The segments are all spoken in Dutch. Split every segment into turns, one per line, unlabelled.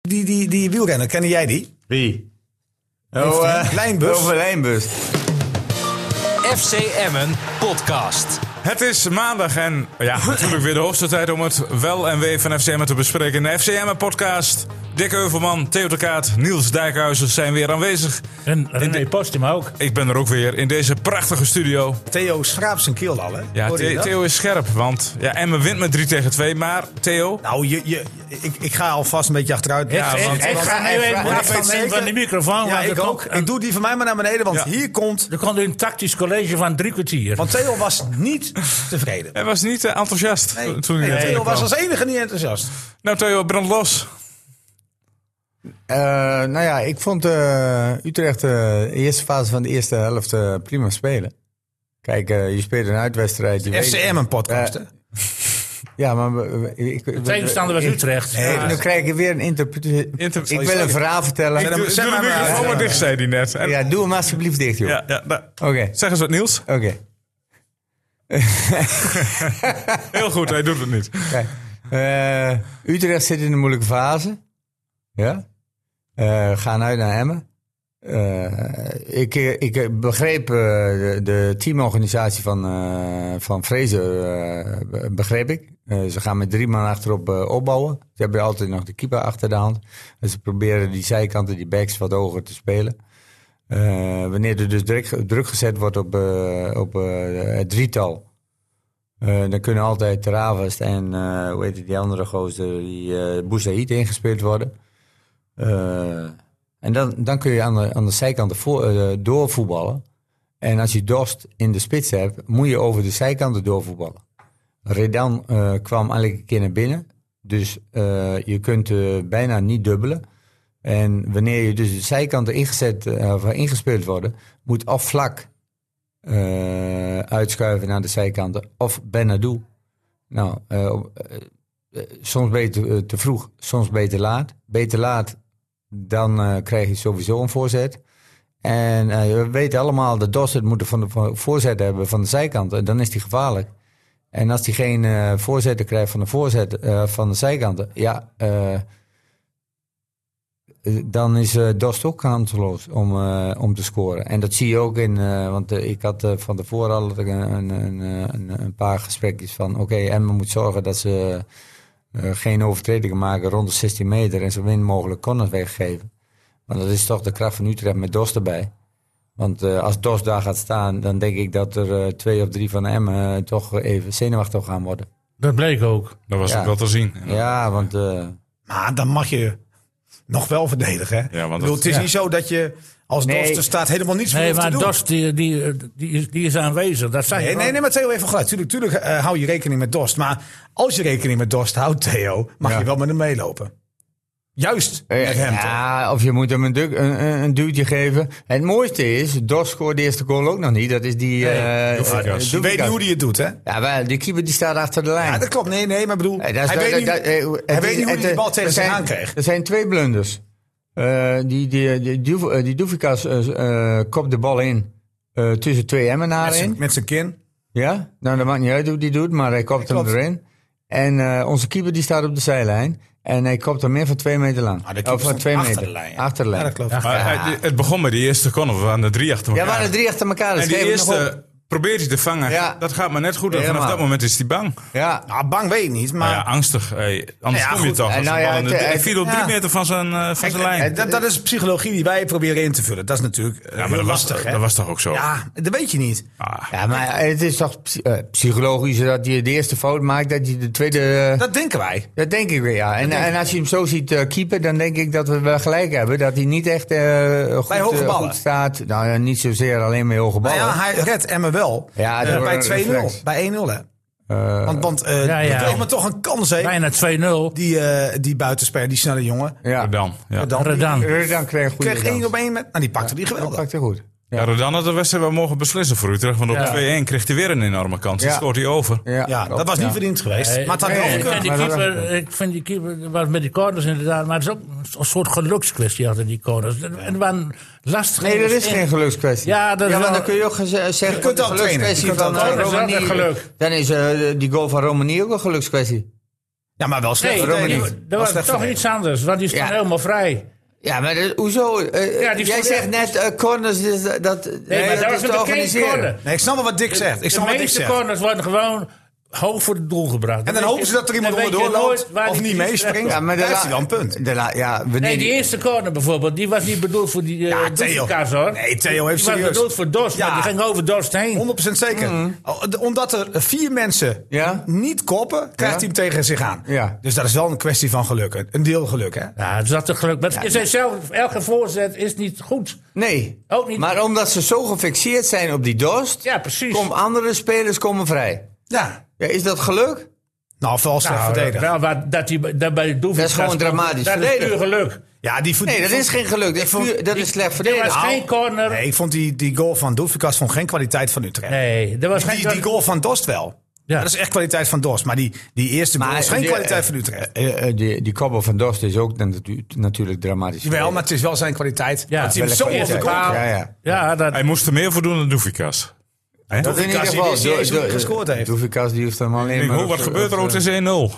die, die, die wielrenner, kennen jij die?
Wie?
Heeft
Oh,
hij
eh,
een lijnbus?
Over lijnbus.
FC Emmen podcast.
Het is maandag en ja, natuurlijk weer de hoogste tijd om het wel en wee van FCM te bespreken. In de FCM-podcast, Dick Heuvelman, Theo de Kaat, Niels Dijkhuizen zijn weer aanwezig.
En René Postuma ook.
Ik ben er ook weer in deze prachtige studio.
Theo schraapt zijn keel al, hè?
Ja,
Hoorde je
The-
dat?
Theo is scherp, want ja, Emmen wint met 3 tegen 2, maar Theo...
Nou, je, je, ik, ik ga alvast een beetje achteruit.
Ja, want-
ik ga nu
Ja,
even
ik
afstand
weet
nemen
zeker-
van die microfoon.
Ja,
want
ik
er
ook.
komt een-
Ik doe die van mij maar naar beneden, want
Ja.
hier komt...
Er komt een tactisch college van drie kwartier.
Want Theo was niet tevreden.
Hij was niet eh, enthousiast
Nee,
toen hij
nee,
naar
Theo
Theo
was
kwam.
als enige niet enthousiast.
Nou Theo, brand los.
Eh, nou ja, ik vond eh, Utrecht eh, de eerste fase van de eerste helft eh, prima spelen. Kijk, eh, je speelt een uitwedstrijd. je weet-
FCM een podcast,
Eh,
hè?
Ja, maar we- we- ik, we-
Tegenstander was
ik-
Utrecht.
Nee,
Ja.
nu krijg ik weer een interpretatie.
Inter-
ik wil een verhaal vertellen.
Ik doe,
zet
doe de
maar maar uit.
microfoon maar dicht, zei hij net. En-
ja, doe hem alsjeblieft dicht, joh.
ja, ja, nou,
Oké,
zeg eens wat Niels.
oké.
Heel goed, hij doet het niet.
Kijk, eh, Utrecht zit in een moeilijke fase. Ja. Eh, gaan uit naar Emmen. Eh, ik, ik begreep eh, de, de teamorganisatie van, eh van Fraser, eh, be- begreep ik. Eh, ze gaan met drie man achterop eh, opbouwen. Ze hebben altijd nog de keeper achter de hand. En ze proberen die zijkanten, die backs wat hoger te spelen. Eh, wanneer er dus druk, druk gezet wordt op, eh, op eh, het drietal, eh, dan kunnen altijd Travest en eh, hoe heet het, die andere gozer, die eh Boussaïd ingespeeld worden. Eh, en dan, dan kun je aan de, aan de zijkanten voor, eh, doorvoetballen. En als je Dost in de spits hebt, moet je over de zijkanten doorvoetballen. Redan eh, kwam elke keer naar binnen. Dus eh, je kunt eh, bijna niet dubbelen. En wanneer je dus de zijkanten ingezet, eh, of ingespeeld worden, moet of vlak eh, uitschuiven naar de zijkanten. Of Benadou. Nou, eh, op- eh, eh, soms beter eh, te vroeg, soms beter laat. Beter laat, dan eh, krijg je sowieso een voorzet. En eh, we weten allemaal dat Dos het moeten van de vo- voorzet hebben van de zijkanten. Dan is die gevaarlijk. En als die geen eh, voorzetten krijgt van de, voorzet, eh, van de zijkanten, ja, eh, eh, dan is eh Dost ook kanseloos om, eh, om te scoren. En dat zie je ook in, eh, want eh, ik had eh, van tevoren al een, een, een, een- een paar gesprekjes van, oké, Emmen moet zorgen dat ze eh, geen overtredingen maken rond de 16 meter en zo min mogelijk corners weggeven. Maar dat is toch de kracht van Utrecht met Dos erbij. Want eh, als Dos daar gaat staan, dan denk ik dat er eh, twee of drie van Emmen eh, toch even zenuwachtig gaan worden.
Dat bleek ook.
Dat was
Ja.
ook wel te zien.
Ja, want eh,
Maar dan mag je nog wel verdedigen, hè?
Ja, want
Ik bedoel,
dat-
het is
ja.
niet zo dat je als
Nee.
Dost er staat helemaal niets
Nee,
voor hoeft
maar
te doen.
Dost die, die, die, is, die is aanwezig. Dat zijn
Nee, nee, nee, maar Theo even gelijk. Tuurlijk, tuurlijk eh, hou je rekening met Dost. Maar als je rekening met Dost houdt, Theo, mag
Ja.
je wel met hem meelopen. Juist met hem, toch?
Eh, ja, of je moet hem een, duk, een, een- een duwtje geven. Het mooiste is, Dos scoort de eerste goal ook nog niet. Dat is die... eh, eh,
Doefikas.
Je weet niet hoe hij het doet, hè?
Ja, maar die keeper die staat achter de lijn.
Ja, dat klopt. Nee, nee, maar bedoel,
Nee, dat is-
hij
dat-
weet niet,
dat- eh,
hij
het
weet
is-
niet hoe
het,
hij de
eh,
bal tegen
er
zich
zijn-
aan kreeg.
Er zijn twee blunders. Eh, die, die, die, Duv- eh, die Doefikas eh, eh, kopt de bal in eh, tussen twee
Met
Emmenaren
zijn-
in.
Met zijn kin.
Ja, nou dat maakt niet uit hoe die doet, maar hij kopt hem
Klopt.
erin. En eh, onze keeper die staat op de zijlijn. En hij kopt hem meer van twee meter lang.
Ah, de keeper
Of van
stond
twee
achter
meter.
de lijn.
Achter
Ja,
de lijn.
dat klopt.
Maar hij- het begon met die eerste corner. We waren er drie achter
Ja,
elkaar.
we waren drie achter elkaar. Dat
en die
schreef ik nog op.
eerste probeert hij te vangen.
Ja.
Dat gaat maar net goed. En vanaf
Helemaal.
dat moment is hij bang.
Ja,
Nou, bang weet ik niet, maar...
Maar ja, angstig. Hey, anders
Ja,
kom je
goed.
toch.
Eh,
als
nou
een
ja,
bal in de-
het-
hij
het-
viel op drie
ja.
meter van zijn, eh, van zijn
Eh,
lijn.
dat, dat is psychologie die wij proberen in te vullen. Dat is natuurlijk eh,
Ja, maar
heel
dat was,
lastig, hè?
dat was toch ook zo?
Ja, dat weet je niet.
Ah.
ja, maar het is toch psy- eh, psychologisch dat je de eerste fout maakt, dat je de tweede... eh,
Dat denken wij.
Dat denk ik weer, ja. En, en als je hem zo ziet eh keeper, dan denk ik dat we wel gelijk hebben. Dat hij niet echt eh goed,
Bij hoge
eh,
ballen.
goed staat. Nou, ja, niet zozeer alleen met hoge
Maar
ballen.
Nou ja, hij redt Emmen wel.
Ja,
Eh,
dat
bij
wordt een
2-0.
reflex.
Bij 1-0, hè?
Eh,
Want, want eh
ja, ja.
er kreeg me toch een kans, hè?
Bijna 2-0.
Die, eh die buitenspeler, die snelle jongen.
ja.
Rodan. Ja.
Dan,
Redan.
Redan kreeg een
die
goede
kreeg
kans.
één op één met... Nou, die pakte die
Dat
geweldig.
pakte goed.
Ja, Rodan had de wedstrijd wel mogen beslissen voor Utrecht. Want op
Ja.
2-1 kreeg hij weer een enorme kans.
Ja.
Dan scoort hij over.
Ja, dat was niet verdiend geweest.
Nee,
Maar het had eh, wel
nee,
Ik
gekund.
vind, die
maar dat-
keeper, ik vind die keeper was met die corners inderdaad, maar het is ook een soort gelukskwestie achter die corners. En het waren lastige.
Nee, dat is geen gelukskwestie.
Ja, dat is
ja maar
wel-
dan kun je ook geze- zeggen...
kunt ook
dat
trainen. Je kunt ook
van eh,
trainen. Dat is ook
Romani-
een geluk.
Dan is eh, die goal van Romani ook een gelukskwestie.
Ja, maar wel slecht.
Nee,
verdedigd.
die-
niet.
Wel
dat was
slecht
toch
verdedigd.
iets anders, want die stond
Ja.
helemaal vrij.
Ja, maar dat- hoezo? Eh,
Ja, die
jij
stond
zegt net, eh, corners, is dat, dat,
Nee, maar dat was
is te
een bekende
organiseren.
corner.
Nee, ik snap wel wat Dick zegt. Ik
De
snap wat Dick
meeste
zegt.
corners worden gewoon hoog voor het doel gebracht.
En dan hopen ze dat er iemand
Dan weet je
onderdoor loopt
nooit waar
of
die
niet
precies
meespringt.
terecht
Ja,
komt.
maar daar
la-
is hij dan, punt.
de la- ja, wanneer
Nee, die
die-
eerste corner bijvoorbeeld, die was niet bedoeld voor die
Ja,
eh
Theo.
Doefikas, hoor.
Nee, Theo heeft
Die was
serieus-
bedoeld voor Dorst,
Ja.
maar die ging over Dorst heen.
100% zeker.
Mm.
Oh, de- Omdat er vier mensen
Ja.
niet koppen, krijgt
Ja.
hij hem tegen zich aan.
Ja.
Dus dat is wel een kwestie van geluk. Een- Een deel geluk, hè?
Ja, het zat er geluk. Maar het is zelf, elke voorzet is niet goed.
Nee,
Ook niet.
maar omdat ze zo gefixeerd zijn op die dorst,
Ja, precies.
komen andere spelers komen vrij.
Ja.
Ja, is dat geluk?
Nou, vooral slecht
Nou,
verdedigd.
wel, wat, dat, die, dat, bij Doefikas
Dat is gewoon
komt,
dramatisch
Dat is puur
verdedigen.
geluk.
Ja, die voet-
Nee, dat is geen geluk. Dat, is puur- dat is slecht
Er
verdedigd.
was geen corner.
Nee,
Nee,
ik vond die, die goal van Doefikas van geen kwaliteit van Utrecht.
er was geen
Die, die goal van Dost wel.
Ja.
Dat is echt kwaliteit van Dost. Maar die, die eerste goal
Maar
is geen
die-
kwaliteit van Utrecht.
Eh, eh, die, die koppel van Dorst is ook natu- natuurlijk dramatisch.
Jawel, maar het is wel zijn kwaliteit.
Ja,
Ja, het is hem
wel
zo
een
over de goal.
kwaliteit.
Ja, ja.
Ja, dat,
Hij moest er meer voor doen dan Doefikas.
Dat in ieder
Doefikas,
geval.
die is niet eens hoe hij gescoord heeft.
Doefikas die heeft hem alleen
Ik
maar... eh,
hoor,
op-
wat gebeurt er
op-
ook? Het is 1-0. Ja.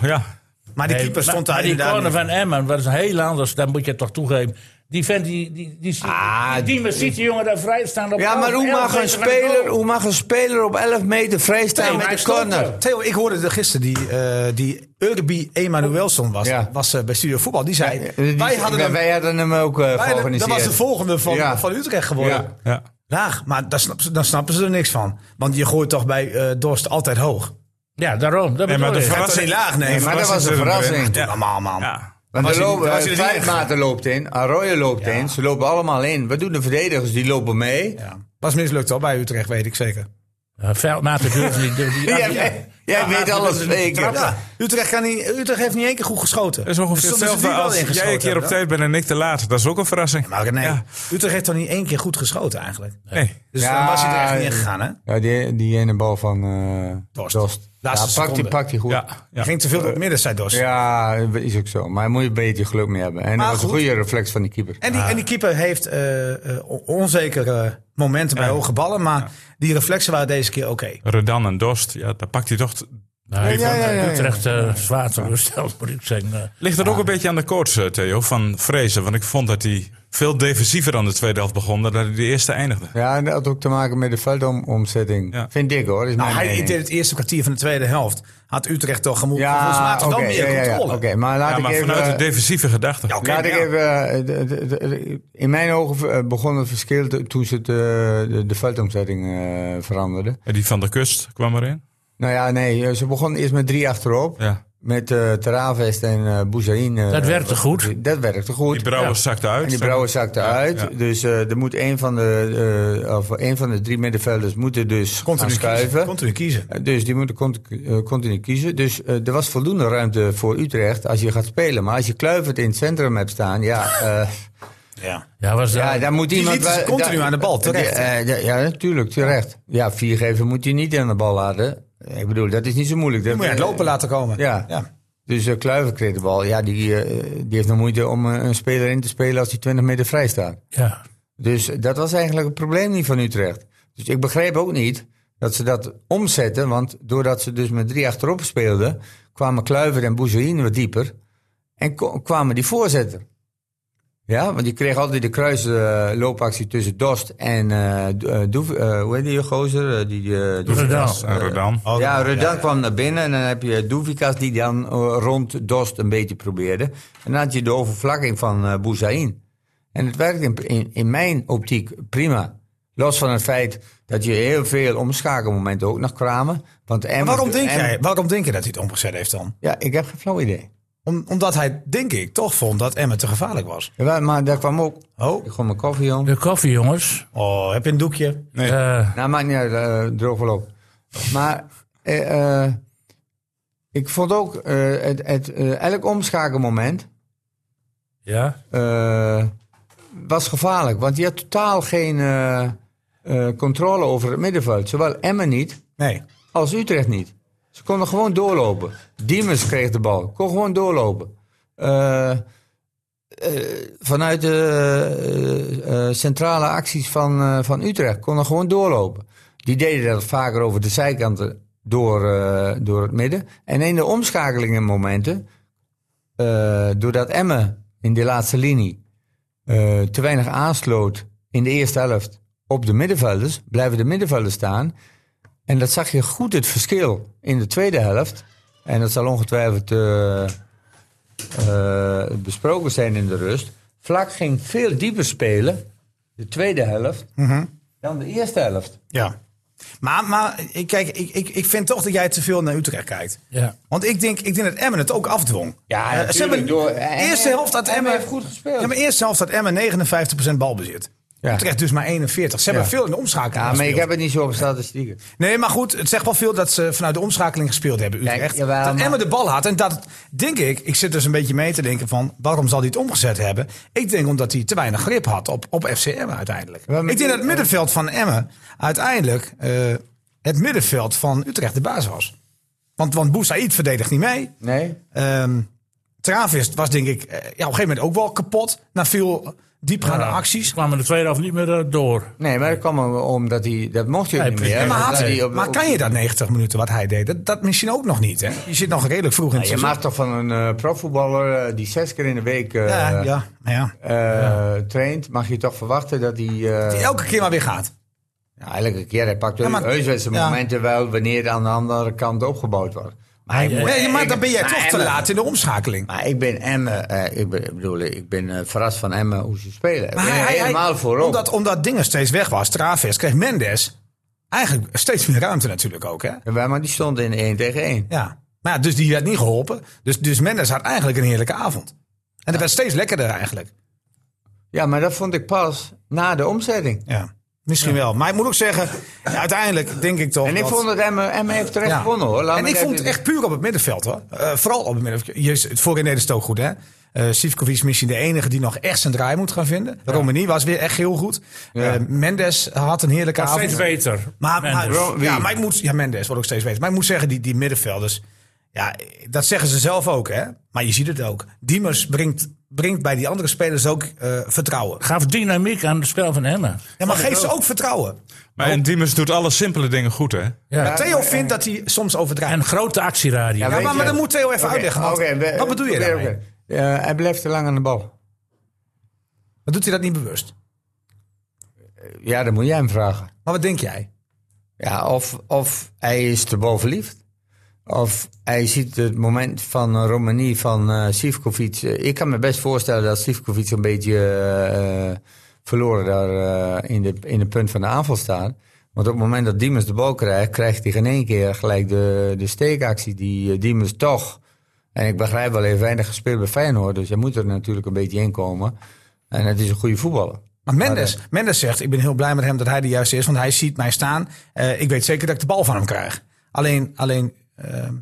Maar die
Nee,
keeper
maar-
stond daar
maar die
inderdaad.
corner
niet.
van Emmen was heel anders. Dan moet je toch toegeven. Die vent, die, die, die,
Ah,
die, die, die ziet die jongen daar vrij staan op
Ja, maar hoe mag, een speler, hoe mag een speler op 11 meter vrij staan
Nee,
met
maar
de
hij stond
corner?
er.
Theo, ik hoorde er gisteren die, eh die Urbi Emanuelson was,
Ja.
was eh, bij Studio Voetbal. Die zei,
Eh, die-
wij hadden hem...
wij hadden hem ook eh,
wij hadden-
georganiseerd.
dat was de volgende van,
Ja.
van Utrecht geworden.
Ja.
Laag, maar daar snappen, ze, daar snappen ze er niks van. Want je gooit toch bij eh, Dorst altijd hoog.
Ja, daarom. Dat
Nee, maar
bedoel
de
ik.
verrassing-
verrassing...
niet laag, nee.
de
Maar dat was een
is er
verrassing.
doorheen.
Doe
Ja.
normaal, man.
Ja.
Want
Was
er
hij
lopen,
niet- was
eh,
hij er niet in
Vijfmaten loopt in, Arroyo loopt in. Ze lopen allemaal in. Wat doen de verdedigers? Die lopen mee.
Ja. Was mislukt al bij Utrecht, weet ik zeker.
Ja, Veldmaten durven niet. Die, die,
Jij, jij weet alles zeker.
dus Ja, Utrecht, kan niet, Utrecht heeft niet één keer goed geschoten.
Dat is ongeveer
Soms is die
hetzelfde
wel
als
ingeschoten
jij een keer op
hebben,
tijd bent en ik te laat. Dat is ook een verrassing.
Maar nee,
Ja.
Utrecht heeft toch niet één keer goed geschoten eigenlijk.
Nee.
Dus
Ja,
dan was hij er echt niet in gegaan, hè?
Ja, die, die ene bal van eh
Dorst.
Dost.
Laatste
ja, pakt die,
seconde.
pakt die goed.
Ja.
Hij
Ja.
Ging te veel door het midden, zei Dos.
Ja, is ook zo. Maar daar moet je een beetje geluk mee hebben.
Maar
En dat was een
goed.
goede reflex van die keeper.
En, die, en die keeper heeft eh, eh, on- onzekere momenten bij hoge ballen. Maar die reflexen waren deze keer oké.
Redan en Dost. Ja, daar pakt hij toch... t-
Nou, ik
Ja,
vond,
ja, ja,
eh,
ja.
Utrecht eh, zwaar teleurgesteld, moet ik zeggen. Eh,
Ligt dat ook een beetje aan de coach, eh, Theo, van Vrezen? Want ik vond dat hij veel defensiever aan de tweede helft begon dan dat hij de eerste eindigde.
Ja, en dat had ook te maken met de veldomzetting.
Ja.
Vind ik hoor. Is
Nou,
mijn
hij
mening.
deed het eerste kwartier van de tweede helft. Had Utrecht toch gemoed.
ja,
Ja,
oké.
wel
ja,
meer
ja, ja.
controle.
Oké, maar laat
Ja, maar
ik even... eh,
vanuit de defensieve gedachte.
Ja, oké.
Laat ik
ja.
even, eh, de- de- de- in mijn ogen eh, begon het verschil te- toen ze de, de, de veldomzetting eh, veranderden.
En die van de kust kwam erin.
Nou ja, nee, ze begonnen eerst met drie achterop.
Ja.
Met eh Teravest en eh Bouzzaïn. eh,
Dat werkte goed.
Dat werkte goed.
Die Brouwers zakte uit.
En die Brouwer zakte uit.
ja.
Dus eh, er moet een van de, eh, of een van de drie middenvelders moeten dus gaan
Continu
schuiven.
kiezen. Continu kiezen.
Eh, Dus die moeten continu, eh, continu kiezen. Dus eh, er was voldoende ruimte voor Utrecht als je gaat spelen. Maar als je Kluivert in het centrum hebt staan, ja, eh,
Ja.
Ja, was, eh,
ja daar moet
Die
iemand...
lieten ze
wel-
continu
daar-
aan de bal, terecht.
Die, eh, ja, ja, natuurlijk, terecht. Ja, viergever moet je niet aan de bal laten. Ik bedoel, dat is niet zo moeilijk. Dat,
Moet je het lopen laten komen.
Ja. Dus eh, Kluivert kreeg de bal. Ja, die, eh, die heeft nog moeite om eh, een speler in te spelen als hij 20 meter vrij staat.
ja.
Dus dat was eigenlijk het probleem niet van Utrecht. Dus ik begreep ook niet dat ze dat omzetten. Want doordat ze dus met drie achterop speelden, kwamen Kluivert en Bouzouin wat dieper. En ko- kwamen die voorzetten. Ja, want die kreeg altijd de kruisloopactie tussen Dost en eh, Do- eh, Doef- eh, hoe heet die gozer? Eh, die, eh, die-
Redan.
En Redan.
Oh,
ja,
ja.
Rudan kwam naar binnen en dan heb je Doevikas die dan eh, rond Dost een beetje probeerde. En dan had je de overvlakking van eh Bouzzaïn. En het werkte in, in, in mijn optiek prima. Los van het feit dat je heel veel omschakelmomenten ook nog kwamen. Want Emmen-
Waarom denk,
Emmen-
jij, waarom denk je dat hij het omgezet heeft dan?
Ja, ik heb geen flauw idee.
Om, omdat hij, denk ik, toch vond dat Emmen te gevaarlijk was.
Ja, maar- maar daar kwam ook...
Oh,
Ik gooi mijn koffie om.
De koffie, jongens.
oh heb je een doekje?
Eh
Nou, maakt niet uit, eh, droog wel op. Maar eh, eh, ik vond ook eh, het, het, eh, elk omschakelmoment...
ja.
eh, was gevaarlijk. Want je had totaal geen eh, eh, controle over het middenveld. Zowel Emmen niet
Nee.
als Utrecht niet. Ze konden gewoon doorlopen. Diemers kreeg de bal. Kon gewoon doorlopen. Eh, eh, vanuit de eh, eh, centrale acties van, eh, van Utrecht konden gewoon doorlopen. Die deden dat vaker over de zijkanten door, eh, door het midden. En in de omschakelingen momenten eh, doordat Emmen in de laatste linie eh, te weinig aansloot in de eerste helft op de middenvelders, blijven de middenvelders staan. En dat zag je goed het verschil in de tweede helft. En dat zal ongetwijfeld eh, eh, besproken zijn in de rust. Vlak ging veel dieper spelen, de tweede helft, dan de eerste helft.
Ja. Maar, maar ik- kijk, ik, ik, ik vind toch dat jij te veel naar Utrecht kijkt.
Ja.
Want ik denk, ik denk dat Emmen het ook afdwong.
Ja,
Eh, ze
natuurlijk,
hebben-
door-
de eerste
Emmen-
helft had
Emmen
Emmen...
heeft goed gespeeld.
Ja, maar de eerste helft had Emmen 59% balbezit.
Ja.
Utrecht dus maar 41. Ze hebben
Ja.
veel in de omschakeling
Ja, Ah, maar ik
gespeeld.
heb het niet zo op statistieken.
Nee, maar goed, het zegt wel veel dat ze vanuit de omschakeling gespeeld hebben, Utrecht.
Kijk, jawel,
dat
maar-
Emmen de bal had. En dat, denk ik, ik zit dus een beetje mee te denken van... waarom zal hij het omgezet hebben? Ik denk omdat hij te weinig grip had op, op FC Emmen uiteindelijk.
Ja, maar-
ik denk dat het middenveld van Emmen uiteindelijk... eh, het middenveld van Utrecht de baas was. Want, want Boussaïd verdedigt niet mee.
Nee?
Ehm Travis was denk ik eh, ja, op een gegeven moment ook wel kapot. Na veel diepgaande
Ja,
acties.
Ze kwamen de tweede helft niet meer eh, door.
Nee, maar dat kwam om- omdat hij... Dat mocht hij ook
Nee,
niet meer.
precies.
maar,
Dat
had-
hij op-
maar
op-
kan je dat 90 minuten wat hij deed? Dat, dat misschien ook nog niet. Hè? Je zit nog redelijk vroeg in het
Ja, je
seizoen.
mag toch van een eh, profvoetballer eh, die zes keer in de week eh,
ja, ja, maar ja.
eh, traint, mag je toch verwachten dat hij... eh,
Die elke keer maar weer gaat.
nou, elke keer, hij pakt
Ja, maar-
heus wel zijn
ja.
momenten wel wanneer het aan de andere kant opgebouwd wordt. Maar, hij moet-
Nee, maar
eh, ik-
dan ben jij
maar
toch te
Emmen-
laat in de omschakeling.
Maar ik ben Emmen, eh, ik, ben, ik bedoel, ik ben eh, verrast van Emmen hoe ze spelen. Ik ben
Maar
er helemaal voorop.
Omdat, omdat dingen steeds weg was, Travis, kreeg Mendes eigenlijk steeds meer ruimte natuurlijk ook. Hè?
Ja, maar die stond in 1 tegen 1.
Ja. Maar ja, dus die werd niet geholpen. Dus, dus Mendes had eigenlijk een heerlijke avond. En dat werd steeds lekkerder eigenlijk.
Ja, maar dat vond ik pas na de omzetting.
Ja. Misschien wel. Maar ik moet ook zeggen, ja, uiteindelijk denk ik toch.
En ik
dat-
vond dat Emmen, Emmen heeft terecht
Ja.
gewonnen hoor. Laat
en
me
ik
dat
vond het
even-
echt puur op het middenveld hoor. Eh, vooral op het middenveld. Je, het voorin deed het ook goed hè. Eh Sivkovic is misschien de enige die nog echt zijn draai moet gaan vinden. Romani was weer echt heel goed.
Ja.
Eh, Mendes had een heerlijke
Maar steeds
avond.
beter.
Maar,
Mendes.
maar-
Ro- wie?
ja, maar ik moet, ja, Mendes wordt ook steeds beter. Maar ik moet zeggen, die, die middenvelders, ja, dat zeggen ze zelf ook hè. Maar je ziet het ook. Diemers brengt, brengt bij die andere spelers ook eh, vertrouwen.
Gaf dynamiek aan het spel van Emmen.
Ja, maar geef ze ook vertrouwen.
Maar en Diemers doet alle simpele dingen goed, hè?
Ja.
Maar Theo vindt dat hij soms overdrijft.
En grote actieradio.
Ja,
Ja, maar,
Weet
maar
je-
dat moet Theo even
Oké,
uitleggen. want
oké, we-
wat bedoel je
oké,
daarmee?
oké. Eh, hij blijft te lang aan de bal.
Dan doet hij dat niet bewust.
Ja, dat moet jij hem vragen.
Maar wat denk jij?
Ja, of, of hij is te bovenliefd. Of hij ziet het moment van eh, Romani van eh Sivkovic. Eh, Ik kan me best voorstellen dat Sivkovic een beetje eh, eh, verloren daar eh, in, de, in de punt van de aanval staat. Want op het moment dat Diemers de bal krijgt, krijgt hij geen één keer gelijk de, de steekactie die eh, Diemers toch. En ik begrijp wel, hij heeft weinig gespeeld bij Feyenoord. Dus hij moet er natuurlijk een beetje in komen. En het is een goede voetballer.
Maar Mendes, Mendes zegt, ik ben heel blij met hem dat hij de juiste is. Want hij ziet mij staan. Eh, ik weet zeker dat ik de bal van hem krijg. Alleen, alleen ehm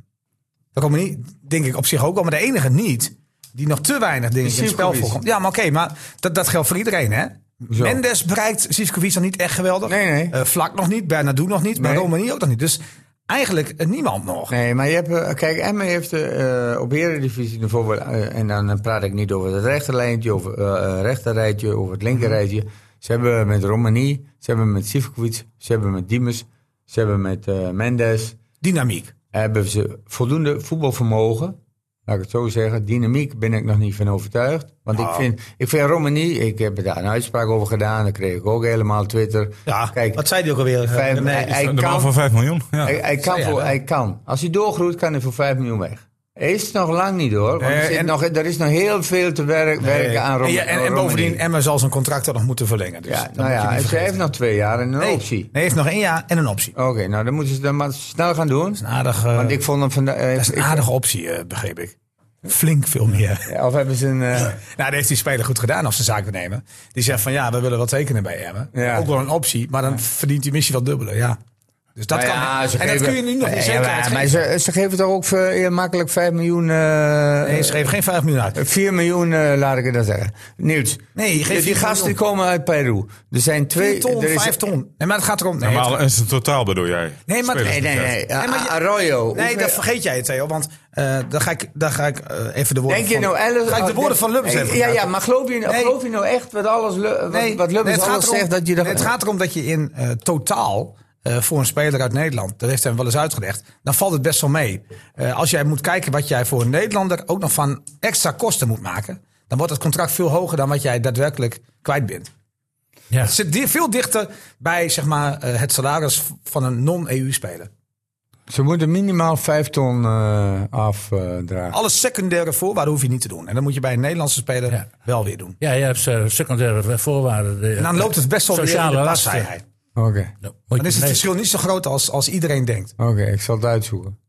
dat komt niet, denk ik op zich ook wel. Maar de enige niet, die nog te weinig dingen in het spel
Sivkovic.
voorkomt. Ja, maar oké, maar dat, dat geldt voor iedereen hè. Mendes bereikt Sivkovic nog niet echt geweldig.
Nee, nee.
Eh, Vlak nog niet, Bernardo nog niet, maar
Nee.
Romani ook nog niet. Dus eigenlijk eh, niemand nog.
Nee, maar je hebt, eh, kijk, Emmen heeft eh op Eredivisie niveau, wel, eh, en dan eh, praat ik niet over het rechterlijntje, over eh eh, rechterrijtje, over het linkerrijtje.
Mhm.
Ze hebben met Romani, ze hebben met Sivkovic, ze hebben met Diemers, ze hebben met eh, Mendes.
Dynamiek.
Hebben ze voldoende voetbalvermogen? Laat ik het zo zeggen. Dynamiek ben ik nog niet van overtuigd. Want
Nou.
ik vind, ik vind Romani, ik heb daar een uitspraak over gedaan, dat kreeg ik ook helemaal Twitter.
Ja, wat zei hij ook alweer? Eh,
vijf-
Nee,
hij- hij
De man
kan-
van 5 miljoen. Ja.
Oh,
hij, hij kan
Ja,
voor,
wel.
hij kan. Als hij doorgroeit, kan hij voor 5 miljoen weg. Hij Is het nog lang niet hoor. Want er,
Nee,
zit
en-
nog, er is nog heel veel te werk, werken eh, aan Rom
En, ja, en, en
Romani.
bovendien, Emma zal zijn contract ook nog moeten verlengen. Dus
Ja,
dat
nou
moet je
ja,
niet
ze
vergeten.
heeft nog twee jaar en een
Nee,
optie.
nee, hij heeft nog één jaar en een optie.
Oké, nou dan moeten ze dat maar snel gaan doen.
Een aardige,
Want ik vond hem vandaag. eh,
dat is een
ik-
aardige optie, eh, begreep ik. Flink veel meer.
Of hebben ze een. eh,
Nou, dat heeft die speler goed gedaan als ze zaken nemen. Die zegt van ja, we willen wat tekenen bij Emmen.
Ja.
Ook wel een optie, maar dan verdient die missie wel dubbele. Ja. Dus dat
nou
kan.
ja, ze
en dat
geven- Eh,
kun je nu nog niet
Ja,
zeker
maar- Maar ze, ze geven toch ook eh, heel makkelijk 5 miljoen.
Nee, ze
eh
geven geen 5 miljoen uit.
4 miljoen, eh, laat ik het dan zeggen. Nieuws.
Nee, geef
die,
vier
die gasten die
miljoen.
komen uit Peru. Er zijn twee.
4 ton,
er is-
5 ton. Nee, maar het gaat erom. Nee, het-
Normaal is het totaal, bedoel jij?
Nee, maar-
Spelers
Nee, nee,
betreft.
nee.
Nee, maar je-
Ah, Arroyo.
Nee,
Hoeveel-
dat vergeet jij, Theo. Want eh dan ga ik, dan ga ik eh, even de woorden
Denk je
van...
nou alles-
ga ik de woorden van Lubbers
Nee,
even
Ja, ja,
gebruiken.
maar geloof je,
Nee.
geloof je nou echt wat, alles, Lu- wat,
Nee,
wat
nee,
Lubbers
het gaat
alles
erom-
zegt? Dat je dat,
nee, Het gaat erom dat je in eh, totaal... eh, eh, voor een speler uit Nederland. Dat heeft hem wel eens uitgelegd. Dan valt het best wel mee. Eh, als jij moet kijken wat jij voor een Nederlander ook nog van extra kosten moet maken. Dan wordt het contract veel hoger dan wat jij daadwerkelijk kwijt bent.
Ja.
Het zit di- veel dichter bij zeg maar, eh, het salaris van een non-EU-speler.
Ze moeten minimaal 5 ton eh, afdragen.
Alle secundaire voorwaarden hoef je niet te doen. En dat moet je bij een Nederlandse speler
Ja.
wel weer doen.
Ja, je hebt eh, secundaire voorwaarden. De-
En dan loopt het best wel weer in de
Sociale lasten.
basisvrijheid.
Oké,
Ja, moet
Dan
je-
is het
nee.
verschil niet zo groot als, als iedereen denkt.
oké, ik zal het uitzoeken.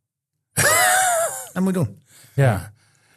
Dat moet je doen.
Ja.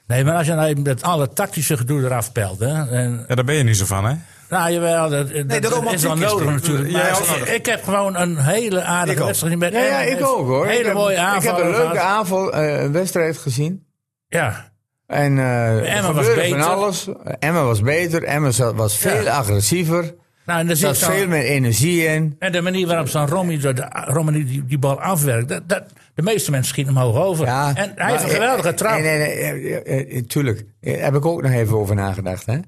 Nee, maar als je nou even met alle tactische gedoe eraf pelt. Hè, en,
Ja, daar ben je niet zo van, hè?
nou, jawel, dat, dat-
de
dat
romantiek
is wel
is
nodig
er.
natuurlijk.
Jij
Maar
ook nodig.
ik heb gewoon een hele
Ik
aardige
ook.
wedstrijd. Met
Ja, ja, ik ook hoor. ik
Hele
heb,
mooie
Ik heb
aanval.
een leuke aanval, eh, een wedstrijd gezien.
Ja,
En eh,
Emmen
er
was
gebeurde
beter.
Van alles. Emma was beter. Emma zat- was veel agressiever.
nou, en dan
Er
zie
zat
ik dan-
veel meer energie in.
En de manier waarop zo'n Romney, zo de, Romney die, die bal afwerkt, dat, dat, de meeste mensen schieten hem hoog over.
Ja,
en hij heeft
maar-
een geweldige trap.
Nee, nee, nee, eh, eh, eh, tuurlijk. Eh, heb ik ook nog even over nagedacht. Hè? Eh,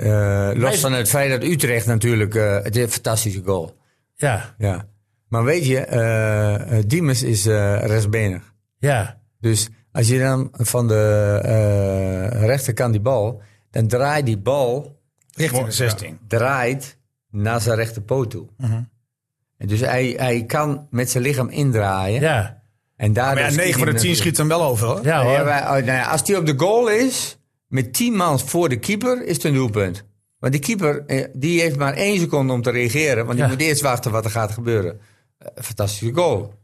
Hij
los
is-
van het feit dat Utrecht natuurlijk... eh, het is een fantastische goal.
Ja,
Ja. Maar weet je, eh eh, Diemers is eh rechtsbenig.
ja,
Dus als je dan van de eh, rechterkant die bal... dan draait die bal
Richting de 16.
draait naar zijn rechterpoot toe.
Mhm.
En dus hij, hij kan met zijn lichaam indraaien.
ja,
En daardoor
Maar ja, 9 van de 10 schiet hem wel over hoor.
ja
Ja,
hoor.
maar, oh, nou ja, als die op de goal is, met 10 man voor de keeper, is het een doelpunt. Want die keeper eh, die heeft maar één seconde om te reageren. Want die
Ja.
moet eerst wachten wat er gaat gebeuren. Eh, Fantastische goal.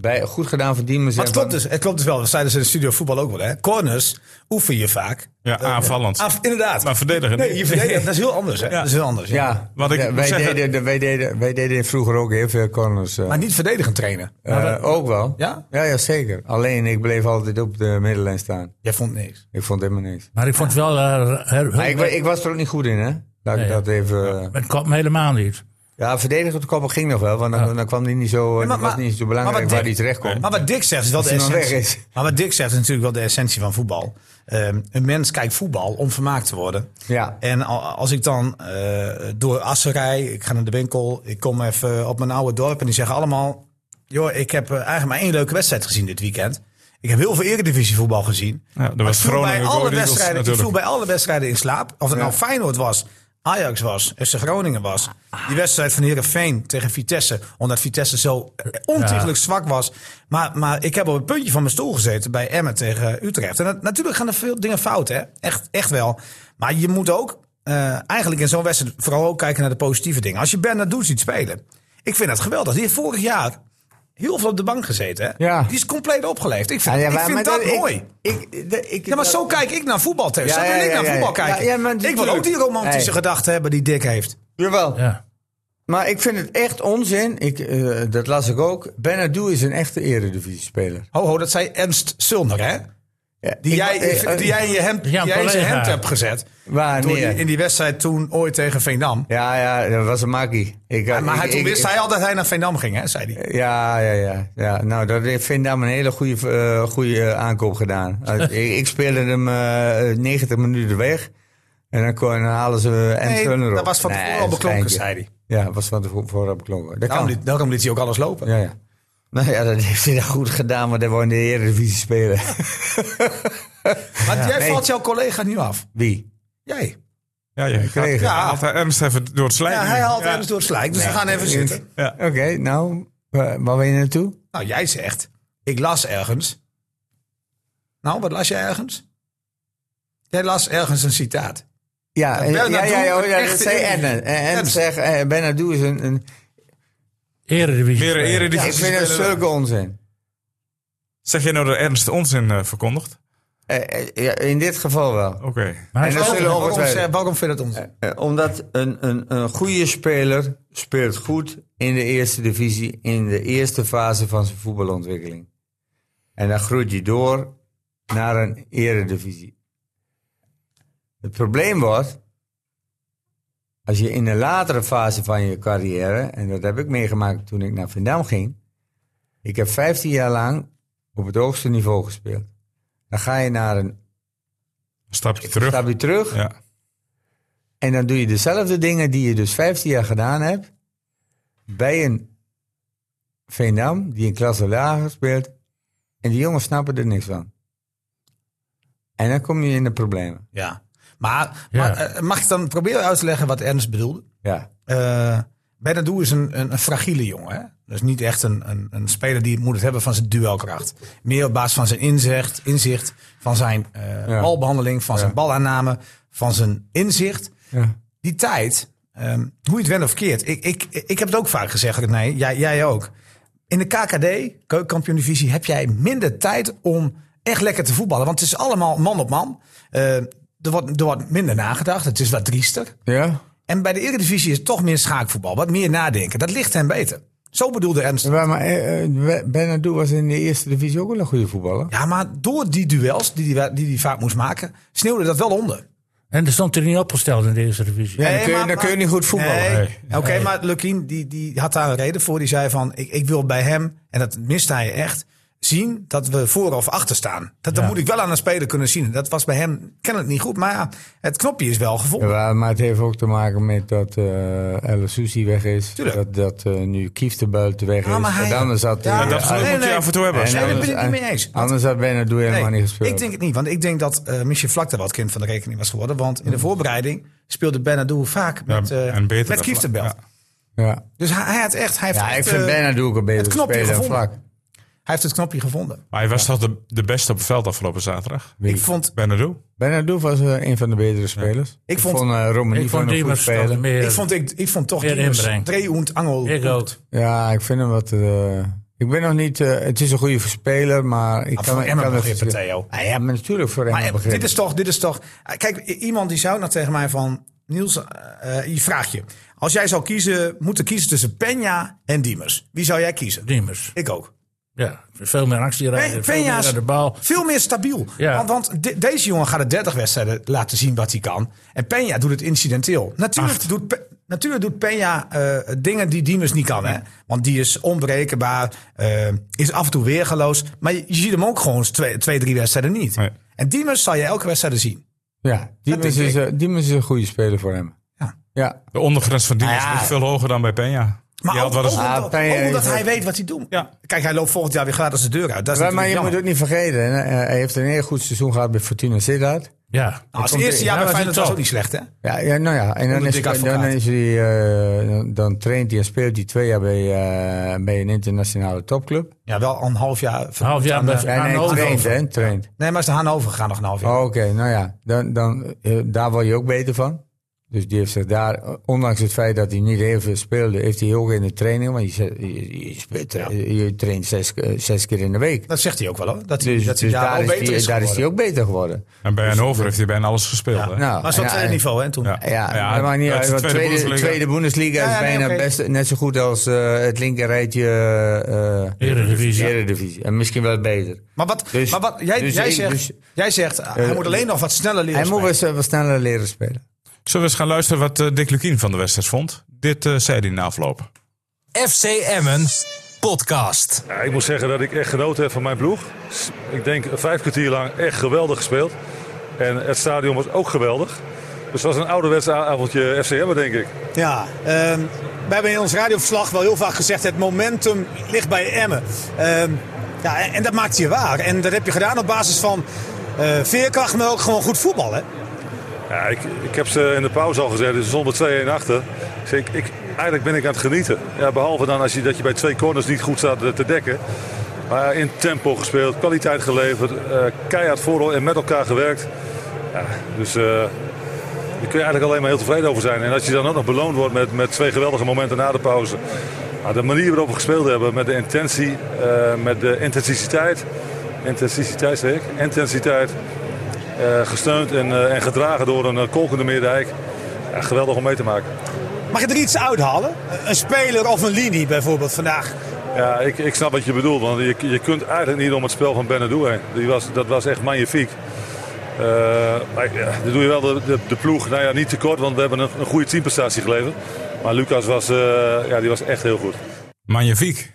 Bij, goed gedaan voor Diemers.
Maar
en
het klopt,
van-
dus, het klopt dus wel. Dat zeiden ze in de studio voetbal ook wel. Hè? Corners oefen je vaak.
Ja, aanvallend.
Af, inderdaad.
Maar verdedigen
nee,
niet.
je verdedigt. Dat is heel anders. Hè? Dat is heel anders. Ja.
Ja,
Wat ik
ja,
moet
wij,
zeggen-
deden, de- wij, deden, wij deden vroeger ook heel veel corners. eh,
Maar niet verdedigend trainen.
eh, ook wel.
Ja?
ja? Ja, zeker. Alleen ik bleef altijd op de middenlijn staan.
Jij vond niks.
Ik vond helemaal niks.
Maar ik vond het wel... eh, her-
Maar ik, wa- ik was er ook niet goed in, hè? Dat
Nee,
ik dat even... eh,
het kwam helemaal niet.
Ja, verdedigen op de koppen ging nog wel, want dan, dan kwam die niet zo, eh,
maar-
was
maar-
niet zo
maar
belangrijk
wat
waar
Dick-
die terecht komt.
Maar wat Dick zegt is wel de
hij dan
essentie.
weg is.
Maar wat Dick zegt is natuurlijk wel de essentie van voetbal. Ehm, een mens kijkt voetbal om vermaakt te worden.
Ja.
En al- als ik dan eh, door Assen rij, ik ga naar de winkel, ik kom even op mijn oude dorp en die zeggen allemaal: joh, ik heb eh, eigenlijk maar één leuke wedstrijd gezien dit weekend. Ik heb heel veel eredivisie voetbal gezien.
Ja, er
Maar
was
ik, viel bij
Groningen Go
alle
Eagles
wedstrijden, ik viel
natuurlijk.
bij alle wedstrijden in slaap. Of het nou Feyenoord was, Ajax was, FC Groningen was. Die wedstrijd van Herenveen tegen Vitesse. Omdat Vitesse zo ontiegelijk zwak was. Maar, maar ik heb op het puntje van mijn stoel gezeten bij Emmen tegen Utrecht. En dat- natuurlijk gaan er veel dingen fout, hè? Echt, echt wel. Maar je moet ook eh, eigenlijk in zo'n wedstrijd vooral ook kijken naar de positieve dingen. Als je Bernardo ziet spelen. Ik vind dat geweldig. Die heeft vorig jaar heel veel op de bank gezeten. Hè?
Ja.
Die is compleet opgeleefd. Ik vind,
Ja, ja,
ik
maar-
vind
maar
dat,
dat- ik-
mooi.
ik- de- ik-
Ja, maar zo
dat-
kijk ik naar voetbal, Theo.
Ja,
zo wil
ja,
ik
ja,
naar
ja,
voetbal
ja.
kijken.
Ja, ja, maar
ik wil ook
natuurlijk.
die romantische
Hey.
gedachten hebben die Dick heeft.
Jawel.
Ja,
Maar ik vind het echt onzin, ik, eh, dat las ik ook. Benadou is een echte eredivisie-speler.
Ho, ho, dat zei Ernst Sulner, hè?
Ja,
Die,
ik-
jij,
eh, eh,
die jij in je hemd, die
Ja,
jij in zijn
collega.
hemd hebt gezet.
Waar,
Door
nee.
die- in die wedstrijd toen ooit tegen Veendam.
Ja, ja, dat was een makkie. Ik, eh,
maar hij,
ik-
toen
ik-
wist hij al dat hij naar Veendam ging, hè? Zei hij.
Ja, ja, ja, ja. Nou, dat ik vind daar een hele goede, eh, goede eh, aankoop gedaan. Eh, ik, ik speelde hem eh, 90 minuten weg. En dan, kon, dan halen ze en
Nee,
Turner op.
dat was van
Nee,
tevoren al
een
beklonken,
schijntje.
zei hij. Nou,
Ja, dat was van tevoren al beklonken. Dat
Daarom
kan.
liet, daarom liet hij ook alles lopen.
Ja, ja. Nou ja, dat heeft hij dan goed gedaan, maar hij wou in de Eredivisie spelen.
Maar jij
Nee.
valt jouw collega nu af.
Wie?
Jij.
Ja, je
Kregen.
ja. haalt hij Ernst even door het slijk.
Ja, hij haalt Ernst door het slijk, dus we gaan even zitten.
Oké, nou, wa- waar wil je naartoe?
Nou, jij zegt, ik las ergens. Nou, wat las jij ergens? Jij las ergens een citaat.
Ja, eh, ja, ja,
Bernardo,
ja, ja,
een
dat
echte
zei
Eredivisie.
Enne. En, en
Ernst.
zeg, eh, Benadou is een... een
eredivisie.
Weer een
spelen.
eredivisie
ik vind het
speler.
zulke onzin.
Zeg jij nou dat Ernst onzin eh, verkondigt?
Eh, eh, ja, in dit geval wel.
Oké.
Maar hij
En
is
dat
ook-
zullen
Waarom,
ongetwijfeld-
ze- waarom vindt het ons?
Eh, omdat een, een, een goede speler speelt goed in de eerste divisie, in de eerste fase van zijn voetbalontwikkeling. En dan groeit hij door naar een eredivisie. Het probleem wordt, als je in een latere fase van je carrière, en dat heb ik meegemaakt toen ik naar Vindam ging, ik heb 15 jaar lang op het hoogste niveau gespeeld. Dan ga je naar een
Stapje terug.
stapje terug.
Ja.
En dan doe je dezelfde dingen die je dus 15 jaar gedaan hebt. Bij een Veendam, die een klasse lager speelt. En die jongens snappen er niks van. En dan kom je in de problemen.
Ja. Maar,
Ja.
maar, eh, mag ik dan proberen uit te leggen wat Ernst bedoelde?
Ja.
Eh Benadou is een, een, een fragiele jongen. Hè? Dus niet echt een, een, een speler die het moet het hebben van zijn duelkracht. Meer op basis van zijn inzicht, inzicht van zijn eh,
Ja.
balbehandeling, van zijn
Ja.
balaanname, van zijn inzicht.
ja.
Die tijd, ehm, hoe je het went of keert. Ik, ik, ik heb het ook vaak gezegd, nee, jij, jij ook. In de KKD, Keukenkampioen Divisie, heb jij minder tijd om echt lekker te voetballen. Want het is allemaal man op man. Eh, er, wordt, er wordt minder nagedacht. Het is wat driester.
Ja?
En bij de Eredivisie is het toch meer schaakvoetbal. Wat meer nadenken. Dat ligt hem beter. Zo bedoelde Ernst.
Maar, maar eh, eh, Be- Bernardo was in de eerste divisie ook wel een goede voetballer.
Ja, maar door die duels die hij die, die vaak moest maken, sneeuwde dat wel onder.
En dat stond er niet opgesteld in de eerste divisie.
Ja, dan,
Nee,
kun je,
maar-
dan kun je
maar-
niet goed voetballen.
Nee.
Nee.
Oké, maar Lukien die, die had daar een reden voor. Die zei van, ik, ik wil bij hem, en dat mist hij echt, zien dat we voor of achter staan. Dat, dat
Ja.
moet ik wel aan een speler kunnen zien. Dat was bij hem kennelijk niet goed. Maar ja, het knopje is wel gevonden.
Ja, maar het heeft ook te maken met dat eh El Susi weg is.
Tuurlijk.
Dat, dat eh, nu Kief de Buiten weg is.
Ja, maar hij-
en anders had...
Ja,
eh,
dat
eh,
moet je af en toe hebben.
Nee,
En
daar ben
anders-
ik het niet mee eens. Want-
Anders had Bernardo helemaal
Nee,
niet gespeeld.
Ik denk het niet, want ik denk dat eh Michel Vlak daar wat kind van de rekening was geworden. Want
Mm.
in de voorbereiding speelde Benadou vaak met, eh
en beter
met
dan
Kieftenbelt.
Vlak,
Ja,
Dus hij, hij had echt, hij heeft,
ja
echt,
ik vind
eh,
Bernardo ook een
het
beter
knopje
speler dan
gevonden.
Vlak.
hij heeft het knopje gevonden.
Maar hij was toch de, de beste op het veld afgelopen zaterdag?
Ik vond,
Benadou?
Bernardo was eh, een van de betere spelers. Ik
vond-
vond eh, Romani van
ik vond
een goed
Diemers stelde
speler.
meer.
ik, vond, ik, ik vond toch
Meer
Diemers
inbreng.
Dreehoend Angel.
Ik ook.
Ja, ik vind hem wat... eh, ik ben nog niet... eh, het is een goede speler, maar... Ik
Maar
kan,
Ah, voor
ik
Emmen
kan het-
begrippen, Theo.
Ah, ja, maar natuurlijk voor
Maar
Emmen
eh,
begrippen.
dit is toch, dit is toch. eh, Kijk, i- iemand die zou nog tegen mij van Niels, eh, eh, je vraagt je. Als jij zou kiezen, moeten kiezen tussen Peña en Diemers. Wie zou jij kiezen?
Diemers.
Ik ook.
Ja, veel meer actie rijden, veel meer
Peña's
aan de bal.
veel meer stabiel.
Ja.
Want, want de- deze jongen gaat de 30 wedstrijden laten zien wat hij kan. En Peña doet het incidenteel. Natuurlijk doet, Pe- natuurlijk doet Peña eh, dingen die Diemers niet kan. Hè? Want die is onberekenbaar, eh, is af en toe weergeloos. Maar je, je ziet hem ook gewoon eens twee, twee drie wedstrijden niet.
Nee.
En Diemers zal je elke wedstrijd zien.
Ja, Diemers
denk
is, eh, Diemers is een goede speler voor hem.
Ja.
Ja,
De ondergrens van die
Ah,
is
ja.
niet veel hoger dan bij Peña.
Maar
Die
ook,
had wel eens-
ook omdat-
Ah,
ook
Peña
omdat
is-
hij weet wat hij doet.
Ja.
Kijk, hij loopt volgend jaar weer gratis de deur uit. Dat is
maar, maar
natuurlijk
je moet
jammer.
het niet vergeten. hè. Eh, Hij heeft een heel goed seizoen gehad bij Fortuna Sittard.
Ja.
Nou,
komt
Als eerste
in.
jaar bij
Ja, was hij
Feyenoord was
top.
ook niet slecht, hè?
Ja, ja, nou ja. En dan,
Onder
is,
Dick
dan,
Advocaat.
is hij, eh, dan- dan traint hij en speelt hij twee jaar bij, eh, bij een internationale topclub.
Ja, wel een half jaar.
Een
Nou.
half jaar
aan,
bij
eh,
En hij
Arno
traint,
Overhoven.
hè? Traint.
Nee, maar is naar Hannover gegaan nog een half jaar.
Oh, Oké, nou ja. Dan, dan, eh, daar word je ook beter van. Dus die heeft zich daar, eh, ondanks het feit dat hij niet heel veel speelde, heeft hij ook in de training. Want je, zet- je, je, speelt- je traint zes, eh, zes keer in de week.
Dat zegt hij ook wel hoor. Dat hij,
Dus,
dat hij
dus
daar,
daar,
al
is
beter
die,
is
daar is
geworden.
hij ook beter geworden.
En bij Hannover heeft hij bijna alles gespeeld. hè?
Nou,
Maar zo'n
ja,
tweede
en-
niveau hè toen. Ja.
Ja,
Ja,
dat maakt niet
het is
uit. want
de tweede
tweede,
Bundesliga.
tweede Bundesliga
Ja,
is
ja, nee,
bijna
oké.
best, net zo goed als eh, het linkerrijtje eh
Eredivisie.
Eredivisie. En misschien wel beter.
Maar wat,
Dus-
maar wat jij,
dus
jij
ik-
zegt,
dus-
jij zegt ah, hij
Eh,
moet alleen nog wat sneller leren
Hij moet
spelen.
wel, eh, wel sneller leren spelen.
Zullen we eens gaan luisteren wat eh, Dick Lukien van de wedstrijd vond? Dit eh, zei hij na afloop.
FC Emmen podcast.
Ja, ik moet zeggen dat ik echt genoten heb van mijn ploeg. Ik denk eh, vijf kwartier lang echt geweldig gespeeld. En het stadion was ook geweldig. Dus het was een ouderwets avondje FCM, denk ik.
Ja, ehm, wij hebben in ons radioverslag wel heel vaak gezegd... het momentum ligt bij Emmen. Ehm, ja, en, en dat maakt je waar. En dat heb je gedaan op basis van eh, veerkracht... maar ook gewoon goed voetbal. Hè?
Ja, ik, ik heb ze in de pauze al gezet, dus ze stonden 2-1 achter. Dus ik, ik, eigenlijk ben ik aan het genieten. Ja, behalve dan als je, dat je bij twee corners niet goed staat eh, te dekken. Maar in tempo gespeeld, kwaliteit geleverd, eh, keihard voor en met elkaar gewerkt. Ja, dus eh, daar kun je eigenlijk alleen maar heel tevreden over zijn. En als je dan ook nog beloond wordt met, met twee geweldige momenten na de pauze. Nou, de manier waarop we gespeeld hebben, met de intentie, eh, met de intensiteit. Intensiteit zeg ik? Intensiteit. Eh, gesteund en, eh, en gedragen door een eh, kolkende Meerdijk. Ja, geweldig om mee te maken.
Mag je er iets uithalen? Een- Een speler of een linie bijvoorbeeld vandaag.
Ja, ik, ik snap wat je bedoelt, want je, je kunt eigenlijk niet om het spel van Benadou heen. Die was, dat was echt magnifiek. Eh, maar ja, dan doe je wel de, de, de ploeg, nou ja, niet tekort, want we hebben een, een goede teamprestatie geleverd. Maar Lucas was, eh, ja, die was echt heel goed.
Magnifiek.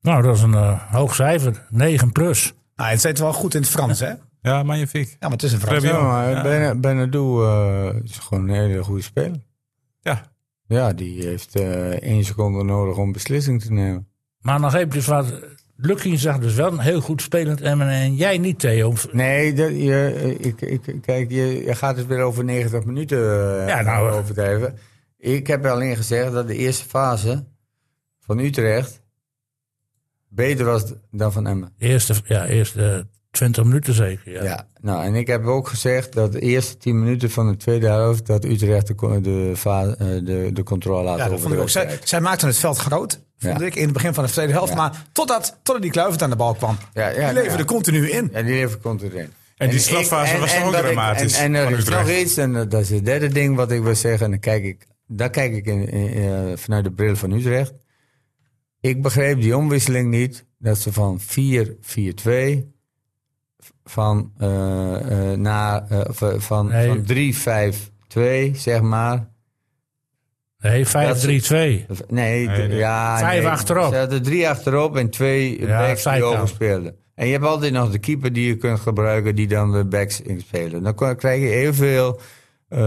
Nou, dat is een eh, hoog cijfer. 9 plus.
Nou, het zit wel goed in het Frans, hè? Ja,
Ja, magnifiek.
maar het is een Frans.
Fabio.
Ja,
Ja,
maar Bern- Bernardo eh, is gewoon een hele goede speler.
Ja.
Ja, die heeft eh, één seconde nodig om beslissing te nemen.
Maar nog even dus wat. Lukking zag dus wel een heel goed spelend Emmen en jij niet, Theo.
Nee, dat, je, eh, ik, ik, kijk, je, je gaat het weer over 90 minuten eh,
Ja, nou, eh.
overdrijven. Ik heb alleen gezegd dat de eerste fase van Utrecht beter was dan van Emmen.
De eerste, ja, eerste 20 minuten zeker. Ja.
Ja. nou, en ik heb ook gezegd dat de eerste 10 minuten van de tweede helft... dat Utrecht de, co- de, fa- eh, de, de controle had
Ja, dat
over
vond
de
ik ook. Zij,
wedstrijd.
zij maakten het veld groot, vond
Ja.
ik, in het begin van de tweede helft.
Ja.
Maar totdat, totdat die Kluivert aan de bal kwam.
Ja, ja,
die
nou
leverde
ja.
continu in.
Ja, die even komt erin.
die
ik-
slotfase was toch ook
dat ik-
dramatisch
En, en er
van
is nog
Utrecht.
iets, en dat is het derde ding wat ik wil zeggen. En dan kijk ik, daar kijk ik in, in- eh, vanuit de bril van Utrecht. Ik begreep die omwisseling niet. Dat ze van 4-4-2 van, eh, eh, na, eh, of, eh, van,
Nee.
van 3-5-2, zeg maar.
Nee, 5-3-2.
Of- Nee, d-
nee.
ja.
Vijf
nee.
achterop.
Ze hadden drie achterop en twee
Ja,
backs die
zijkant.
overspeelden. En je hebt altijd nog de keeper die je kunt gebruiken, die dan de backs inspelen. Dan kon- krijg je heel veel. eh,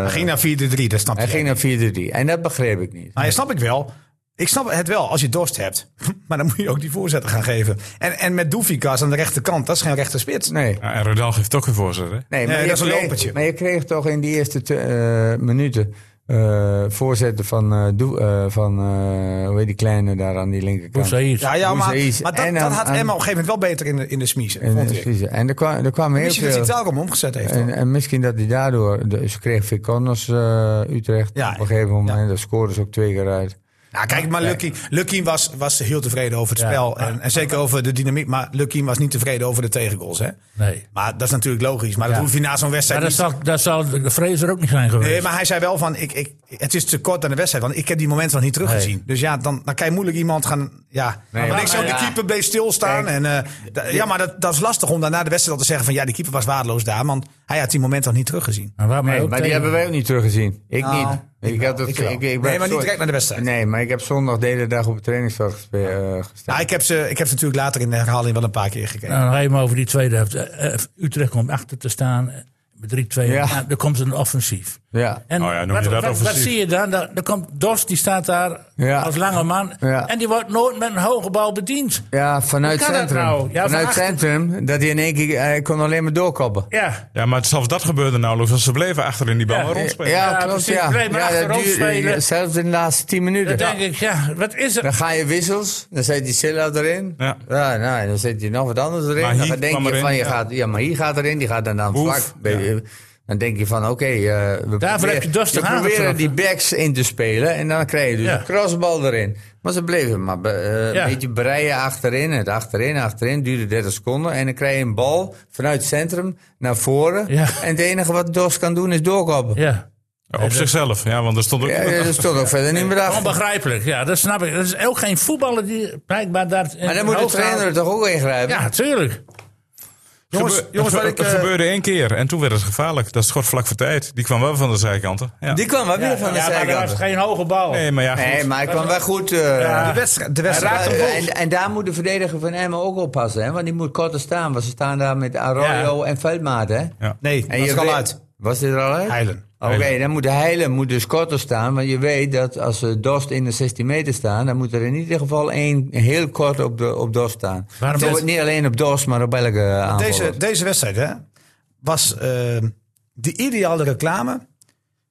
Hij ging naar 4-3, dat snap
hij
ik.
ging naar 4-3. En dat begreep ik niet.
Nou, ja, snap ik wel. Ik snap het wel als je dorst hebt. Maar dan moet je ook die voorzetten gaan geven. En, en met Doefikas aan de rechterkant, dat is geen rechter spits.
Nee.
Ja, en Rodal geeft ook een voorzet, hè?
Nee,
Nee,
je
dat is een
kreeg-
lopertje.
Maar je kreeg toch in die eerste te- eh, minuten eh, voorzetten van, eh, Doe- eh, van eh, hoe heet die kleine daar aan die linkerkant.
Boussaïd.
Ja, ja maar,
Boezeïs
maar dat,
en
dat
aan-
had
aan-
Emma op een gegeven moment wel beter in de, in de smiezen,
En,
vond ik.
precies. en er kwam, er kwam heel
Misschien dat
veel...
hij Telkom omgezet heeft.
En,
dan.
en misschien dat hij daardoor. de- Ze kregen Viconos eh Utrecht
Ja,
op een gegeven moment.
ja.
Daar scoorden ze ook twee keer uit.
Nou, kijk, maar Lucky, Lucky was, was heel tevreden over het
Ja,
spel.
maar-
en, en zeker over de dynamiek. Maar Lucky was niet tevreden over de tegengoals. Hè?
Nee.
Maar dat is natuurlijk logisch. Maar dat
Ja.
hoef je na zo'n
Maar
wedstrijd
dat
niet-
zal, dat zal de Fraser ook niet zijn geweest.
Nee, maar hij zei wel van, ik, ik, het is te kort aan de wedstrijd. Want ik heb die momenten nog niet teruggezien. Dus ja, dan, dan kan je moeilijk iemand gaan... Ja,
Nee,
maar
maar-
ik zou, de
ja.
keeper bleef stilstaan.
Kijk,
en, eh, da- ja, maar dat, dat is lastig om daarna de wedstrijd al te zeggen van... Ja, die keeper was waardeloos daar. Want hij had die momenten nog niet teruggezien.
En Nou, waar mij
Nee,
ook
maar die
tegen-
hebben wij ook niet teruggezien. Ik
Nou,
niet. Ik, had het,
Ik wel. Nee, maar
ben
niet
zo-
direct naar de wedstrijd.
Nee, maar ik heb zondag de hele dag op het trainingsveld gespe- eh, gestaan.
Nou, ik heb, ze, ik heb ze natuurlijk later in de herhaling wel een paar keer gekeken.
Nou, nog even over die tweede helft. Eh, eh, Utrecht komt achter te staan. eh, Met 3-2.
Ja.
Ja, er komt een offensief.
Ja.
En
Oh ja, noem je
wat,
dat
wat- wat
offensief?
zie je dan? Daar, daar komt Dorst, die staat daar
Ja.
als lange man.
Ja.
En die wordt nooit met een hoge bal bediend.
ja, vanuit
Hoe kan dat
centrum.
nou? Ja,
vanuit
van achter-
centrum. Dat hij in één keer. Hij kon alleen maar doorkoppen.
Ja,
Ja, maar zelfs dat gebeurde nauwelijks, want ze bleven achter in die bal
Ja.
maar
Ja,
rondspelen.
klopt.
precies.
Ja.
Nee, maar
ja,
achterom spelen.
zelfs in de laatste tien minuten.
dan denk ik, ja, wat is er?
Dan ga je wissels, dan zet je Silla erin.
Ja.
nou, en dan zet je nog wat anders erin.
Maar
dan
hier
denk
kwam
je
erin,
van, je
ja.
gaat, ja, maar hier gaat erin, die gaat dan aan het
Boef,
vlak. Ben
ja.
je- Dan denk je van, oké, eh, we proberen-
heb je dus
we
toch aangetroffen?
proberen die backs in te spelen en dan krijg je dus
Ja.
een crossbal erin. Maar ze bleven maar be- eh,
Ja.
een beetje breien achterin, het achterin, achterin, duurde 30 seconden. En dan krijg je een bal vanuit het centrum naar voren.
Ja.
En het enige wat Dos kan doen is doorkoppen.
Ja.
Ja, op zichzelf, ja, want er stond ook...
Ja, dat is toch ook verder niet meer achter.
Onbegrijpelijk, ja, dat snap ik. Dat is ook geen voetballer die blijkbaar daar.
Maar dan moet de trainer er toch ook ingrijpen?
Ja, tuurlijk.
jongens,
Gebe-
jongens,
het,
wat ik...
ge- het
eh,
gebeurde één keer en toen werd het gevaarlijk. Dat is schot vlak voor tijd. Die kwam wel van de zijkanten. Ja.
Die kwam wel weer van de
ja, maar dat
zijkant.
was geen hoge bal.
Nee, maar ja, goed.
Nee, maar hij kwam wel goed. eh,
de wedstrijd, de wedstrijd
eh, en, en daar moet de verdediger van Emmen ook op passen. Hè? Want die moet korter staan. Want ze staan daar met Arroyo en Veldmaat. Hè?
Ja.
Nee,
En
dat is er al
weet-
uit.
Was dit er al uit?
Heilen.
Oké, dan moet de Heilen moet dus korter staan. Want je weet dat als ze Dost in de 16 meter staan... dan moet er in ieder geval één heel kort op, de, op Dost staan.
Waarom
Zo,
dit-
niet alleen op Dost, maar op elke eh, aanval.
Deze, deze wedstrijd hè, was eh, de ideale reclame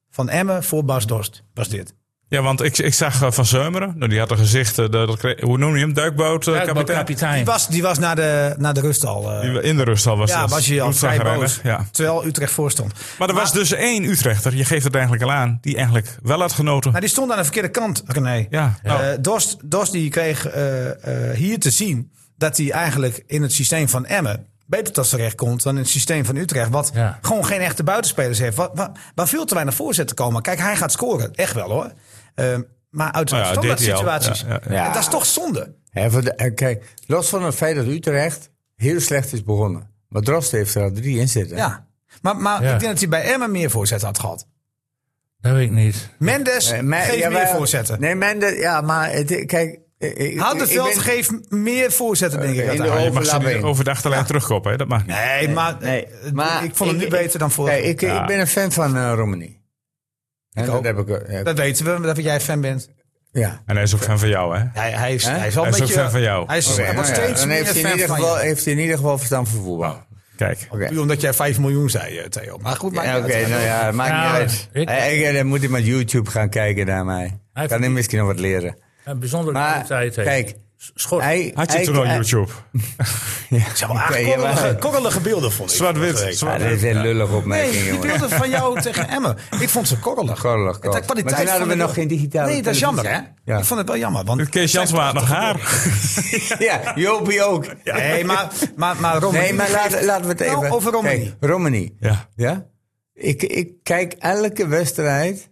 van Emmen voor Bas Dorst. Was dit.
Ja, want ik, ik zag eh, Van Zeumeren. Nou, die had een gezicht, eh, dat, dat kreeg- hoe noem je hem? Duikboot, eh,
Duikbal
kapitein.
Die
kapitein.
was, die was na, de, na de rust al. eh,
Die- In de rust al was
ja,
dat.
was je al vrij
Bloedzagrijnig,
boos.
Ja.
Terwijl Utrecht voor stond.
Maar er was dus één Utrechter, je geeft het eigenlijk al aan, die eigenlijk wel had genoten.
Nou, die stond aan de verkeerde kant, René.
Ja, nou,
Eh, Dorst, Dorst die kreeg eh, eh, hier te zien dat hij eigenlijk in het systeem van Emmen beter tot zijn recht komt dan in het systeem van Utrecht. Wat
Ja.
gewoon geen echte buitenspelers heeft. Wat, wat, waar veel te weinig voorzetten komen. Kijk, hij gaat scoren. Echt wel hoor. Eh, maar uit
Nou ja,
standaard
dit hij al.
situaties.
Ja, ja,
ja.
En Dat is toch zonde.
Hè, voor de- eh, kijk, los van het feit dat Utrecht heel slecht is begonnen. Maar Dost heeft er al drie in zitten.
Ja. Maar, maar
Ja.
ik denk dat hij bij Emmen meer voorzetten had gehad.
Dat weet ik niet.
Mendes,
Eh, maar-
geef
ja,
meer
maar-
voorzetten.
Nee, Mendes, ja, maar het, kijk... eh, ik-
Houd het
ik
veld,
ben-
geef meer voorzetten, denk ik.
in de
uiteindelijk.
je mag ze
overlap
niet
heen.
over de achterlijn terugkoppen, hè? dat mag niet.
Nee, maar,
Nee,
eh,
maar
ik vond hem nu beter dan vorig
Kijk, ik,
Ja.
ik ben een fan van eh Romani. En dat
ook.
heb ik... eh,
Dat weten we, dat jij fan bent.
Ja.
En hij is ook fan van jou, hè?
Hij, hij, is,
Hè?
hij is wel
Hij
een
is ook
beetje...
fan van jou.
Hij is
Oké,
hij wordt
nou ja,
steeds
dan
meer
heeft hij, in
fan
ieder
van
geval,
je.
heeft hij in ieder geval verstand voor voetbal.
Kijk.
Oké.
Puur omdat jij 5 miljoen zei, eh, Theo. Maar goed, maakt
Ja,
niet
Oké,
uit.
nou ja, maakt
Nou,
niet uit.
ik-
Hij- hij- dan moet hij met YouTube gaan kijken naar mij.
Hij
kan hij
verdient-
misschien nog wat leren.
Een bijzondere
Maar,
kwaliteit heeft.
kijk.
Schot.
Hij,
Had je
hij-
toen al
hij-
YouTube?
Zeg maar, acht
Oké, ja, maar-
korrelige, korrelige beelden vond ik.
Zwart-wit.
vorige week.
zwart-wit.
Ja, dit is een lullige opmerking,
Nee, die
jongen.
beelden van jou tegen Emmen. Ik vond ze korrelig.
Korrelig,
En De
korrelig.
kwaliteit
Maar toen
vond
hadden we
ik wel-
nog geen digitale
Nee, dat is
televisie.
jammer, hè?
Ja.
Ik vond het wel jammer. Want
Kees Jansma had nog haar.
Ja, Jopie ook.
Nee, maar, maar, maar Romani...
Nee, maar laat- laten we het even...
Nou, over Romani.
Kijk, Romani.
Ja.
Ja? Ik, ik kijk elke wedstrijd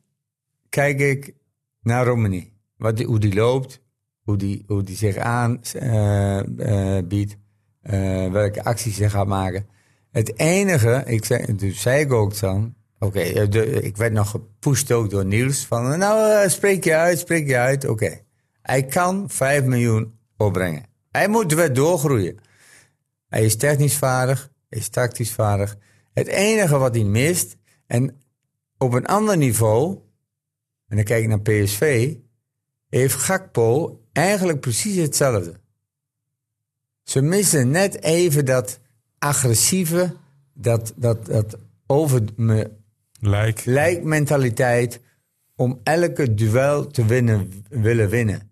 kijk ik naar Romani. Wat die, hoe die loopt, hoe die, hoe die zich aanbiedt, eh biedt, eh, welke acties hij gaat maken. Het enige, ik zei, dus zei ik ook dan, oké, eh, de- ik werd nog gepusht ook door Niels van, nou eh, spreek je uit, spreek je uit, oké. Hij kan 5 miljoen opbrengen. Hij moet weer doorgroeien. Hij is technisch vaardig, hij is tactisch vaardig. Het enige wat hij mist, en op een ander niveau, en dan kijk ik naar PSV, heeft Gakpo eigenlijk precies hetzelfde. Ze missen net even dat agressieve, dat, dat, dat over me
Lijk.
lijkmentaliteit om elke duel te winnen, willen winnen.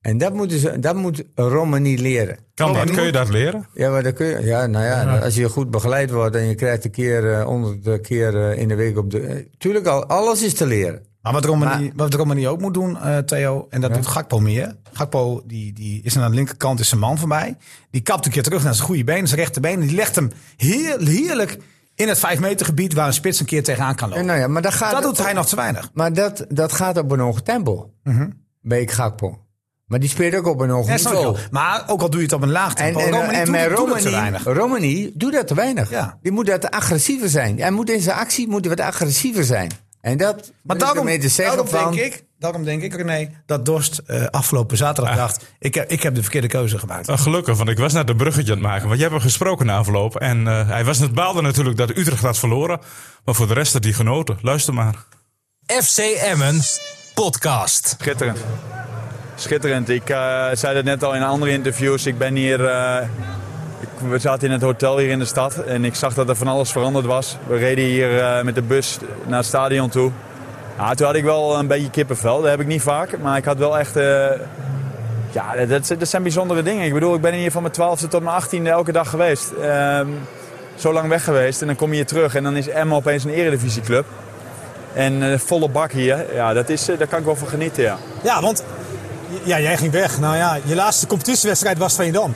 En dat, moeten ze, dat moet Romani leren.
Kan dat? Kun je dat leren?
Ja, maar dan kun je, ja, nou ja, als je goed begeleid wordt en je krijgt een keer, eh onder de keer eh, in de week op de. eh, tuurlijk, al, alles is te leren.
Maar wat Romani, wat Romani ook moet doen, eh, Theo, en dat doet Gakpo meer. Gakpo die, die is aan de linkerkant is zijn man voorbij. Die kapt een keer terug naar zijn goede been, zijn rechterbeen. Die legt hem heer- heerlijk in het 5 meter gebied waar een spits een keer tegenaan kan
En
lopen.
nou ja, maar dat gaat,
Dat doet hij nog te weinig.
Maar dat, dat gaat op een hoog tempo. Bij Gakpo. Maar die speelt ook op een hoog
Ja, snap ik
niveau.
wel. Maar ook al doe je het op een laag
En,
tempo,
en,
Romani
en
doet-
met
doet het te
Romani,
weinig.
Romani doet dat te weinig.
Ja.
Die moet dat agressiever zijn. Hij moet in zijn actie moet hij wat agressiever zijn. En dat
Maar
dat is
daarom,
ermee te zeggen
daarom,
van,
denk ik, daarom denk ik, René, dat Dorst eh, afgelopen zaterdag dacht... Ik heb, ik heb de verkeerde keuze gemaakt.
Nou, gelukkig, want ik was net een bruggetje aan het maken. Want je hebt hem gesproken na afloop. En eh, hij was het baalde natuurlijk dat Utrecht had verloren. Maar voor de rest had hij genoten. Luister maar.
FC Emmen podcast.
Schitterend. Schitterend. Ik eh, zei dat net al in andere interviews. Ik ben hier. eh, ik, we zaten in het hotel hier in de stad en ik zag dat er van alles veranderd was. We reden hier eh, met de bus naar het stadion toe. Ja, toen had ik wel een beetje kippenvel. Dat heb ik niet vaak, maar ik had wel echt. eh, ja, dat- dat, dat zijn bijzondere dingen. Ik bedoel, ik ben hier van mijn 12e tot mijn 18e elke dag geweest. Ehm, zo lang weg geweest en dan kom je hier terug en dan is Emma opeens een eredivisieclub. En eh, volle bak hier, ja, dat is, eh, daar kan ik wel van genieten, ja.
Ja, want ja, jij ging weg. Nou ja, je laatste competitiewedstrijd was van je dan.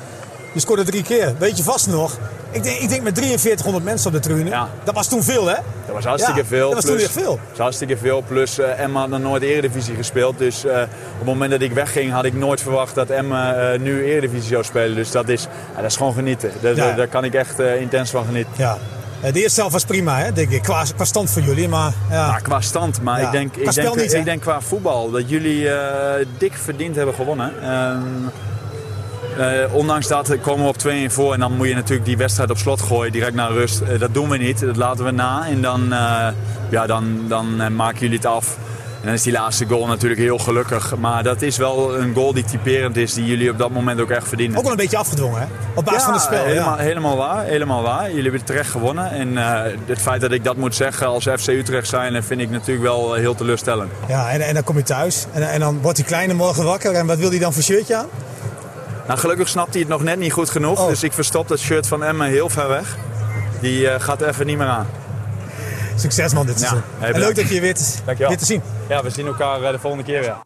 Je scoorde drie keer, weet je vast nog. Ik denk, ik denk met 4300 mensen op de tribune.
Ja.
Dat was toen veel, hè?
Dat was hartstikke
Ja,
veel.
dat was toen
plus-
echt veel.
Dat was hartstikke veel. Plus eh, Emma had nog nooit Eredivisie gespeeld. Dus eh, op het moment dat ik wegging had ik nooit verwacht dat Emma eh, nu Eredivisie zou spelen. Dus dat is, ja, dat is gewoon genieten. Dat,
Ja.
dat- Daar kan ik echt eh, intens van genieten.
Ja. Eh, De eerste helft was prima, hè? Denk ik. Qua, qua stand voor jullie, maar ja.
Maar qua stand, maar
Ja.
ik, denk,
Qua
ik,
spel
denk,
niet, hè?
ik denk qua voetbal dat jullie eh, dik verdiend hebben gewonnen. Ehm, eh, ondanks dat komen we op 2-1 voor en dan moet je natuurlijk die wedstrijd op slot gooien, direct naar rust. Eh, dat doen we niet, dat laten we na en dan, eh, ja, dan, dan eh, maken jullie het af. En dan is die laatste goal natuurlijk heel gelukkig. Maar dat is wel een goal die typerend is, die jullie op dat moment ook echt verdienen.
ook wel een beetje afgedwongen, hè? Op basis van het spel.
Helemaal,
ja.
helemaal waar, helemaal waar. Jullie hebben terecht gewonnen. En eh, het feit dat ik dat moet zeggen als FC Utrecht zijn, vind ik natuurlijk wel eh, heel teleurstellend.
Ja, en, en dan kom je thuis. En, en dan wordt die kleine morgen wakker. En wat wil hij dan voor shirtje aan?
Nou, gelukkig snapt hij het nog net niet goed genoeg.
Oh.
Dus ik verstop dat shirt van Emma heel ver weg. Die eh, gaat even niet meer aan.
Succes, man, dit
Ja,
seizoen.
hey,
en
bedankt.
leuk dat je je weer te,
Dankjewel.
weer te zien.
Ja, we zien elkaar eh, de volgende keer weer.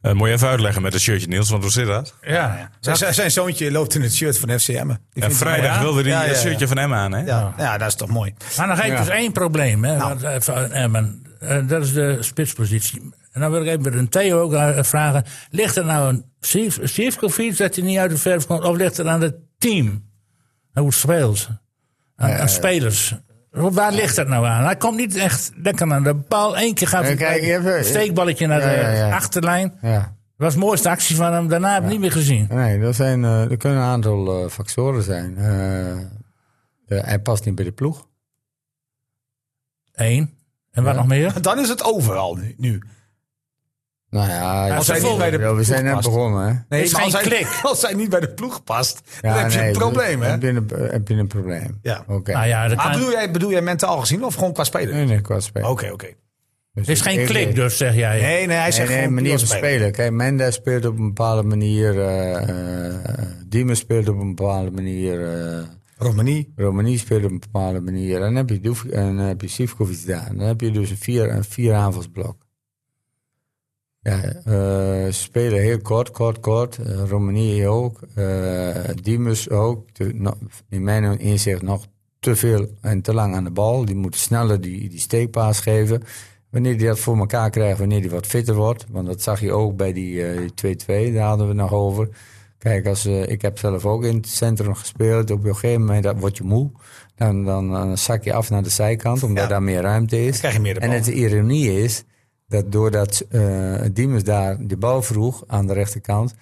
Eh moet je even uitleggen met het shirtje, Niels. Want hoe zit dat?
ja.
Zijn, zijn- zijn zoontje loopt in het shirt van FCM. En
En vrijdag wilde hij
ja, ja,
het
ja.
shirtje van Emma aan, hè?
Ja, ja, dat is toch mooi.
Maar nog even dus één probleem, hè,
Nou.
want, eh, van Emmen. Eh, dat is de spitspositie. En dan wil ik even een Theo ook eh, vragen. Ligt er nou een Sif- Sivkovic dat hij niet uit de verf komt? Of ligt er aan het team? Nou, Hoe het speelt? Aan,
Eh.
aan spelers? Waar ligt dat nou aan? Hij komt niet echt lekker aan de bal. Eén keer gaat
Ja,
hij
kijk, je hebt- eh,
een steekballetje naar
Ja, ja,
de
ja.
achterlijn.
Ja.
Dat was de mooiste actie van hem. Daarna heb ik niet meer gezien.
Nee, dat, zijn, eh, dat kunnen een aantal eh, factoren zijn. Eh, eh, hij past niet bij de ploeg.
Eén. En wat nog meer?
Dan is het overal nu. nu.
Nou ja,
Als hij niet bij de
Ja, we zijn
ploeg
net
past.
begonnen, hè?
Nee,
is
maar als,
geen
hij,
klik.
als hij niet bij de ploeg past, dan
Ja,
heb je
nee, dus
een probleem, hè?
Heb je een, heb je een probleem?
Ja.
Oké.
Nou ja, dat
Maar
kan-
bedoel jij, bedoel jij mentaal gezien of gewoon qua spelen?
Nee,
Oké,
nee, qua spelen.
oké.
er is geen klik dus, zeg jij.
Nee, nee, hij
Nee,
zegt
nee,
gewoon
manier
puur
van
spelen.
spelen. Kijk, Menda speelt op een bepaalde manier. eh eh, Diemen speelt op een bepaalde manier. eh,
Romani.
Romani speelt op een bepaalde manier. En dan heb je, Doef, en dan heb je Sivkovic daar. En Dan heb je dus een vier, een vier aanvalsblok. Ja, eh, ze spelen heel kort, kort, kort. Eh, Romani ook. eh Dimus ook. Te- no- in mijn inzicht nog te veel en te lang aan de bal. Die moeten sneller die, die steekpaas geven. Wanneer die dat voor elkaar krijgt, wanneer die wat fitter wordt. Want dat zag je ook bij die eh, die 2-2, daar hadden we het nog over. Kijk, als, eh, ik heb zelf ook in het centrum gespeeld. Op een gegeven moment dat word je moe. Dan, dan, dan zak je af naar de zijkant, omdat daar meer ruimte is.
krijg je meer de
en
bal.
het ironie is dat doordat eh Diemers daar de bal vroeg aan de rechterkant,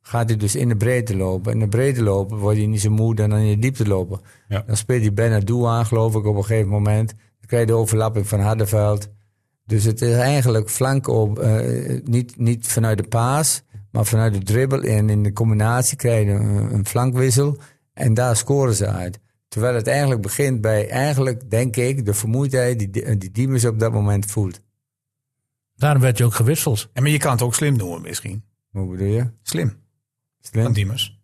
gaat hij dus in de breedte lopen. In de breedte lopen word je niet zo moe dan in de diepte lopen.
Ja.
Dan speelt hij Benadou aan, geloof ik, op een gegeven moment. Dan krijg je de overlapping van Hardenveld. Dus het is eigenlijk flank op, eh, niet, niet vanuit de paas, maar vanuit de dribbel. En in de combinatie krijg je een, een flankwissel en daar scoren ze uit. Terwijl het eigenlijk begint bij, eigenlijk denk ik, de vermoeidheid die, die Diemers op dat moment voelt.
Daarom werd je ook gewisseld.
En maar je kan het ook slim noemen misschien.
Hoe bedoel je?
Slim, van
Slim?
Diemers.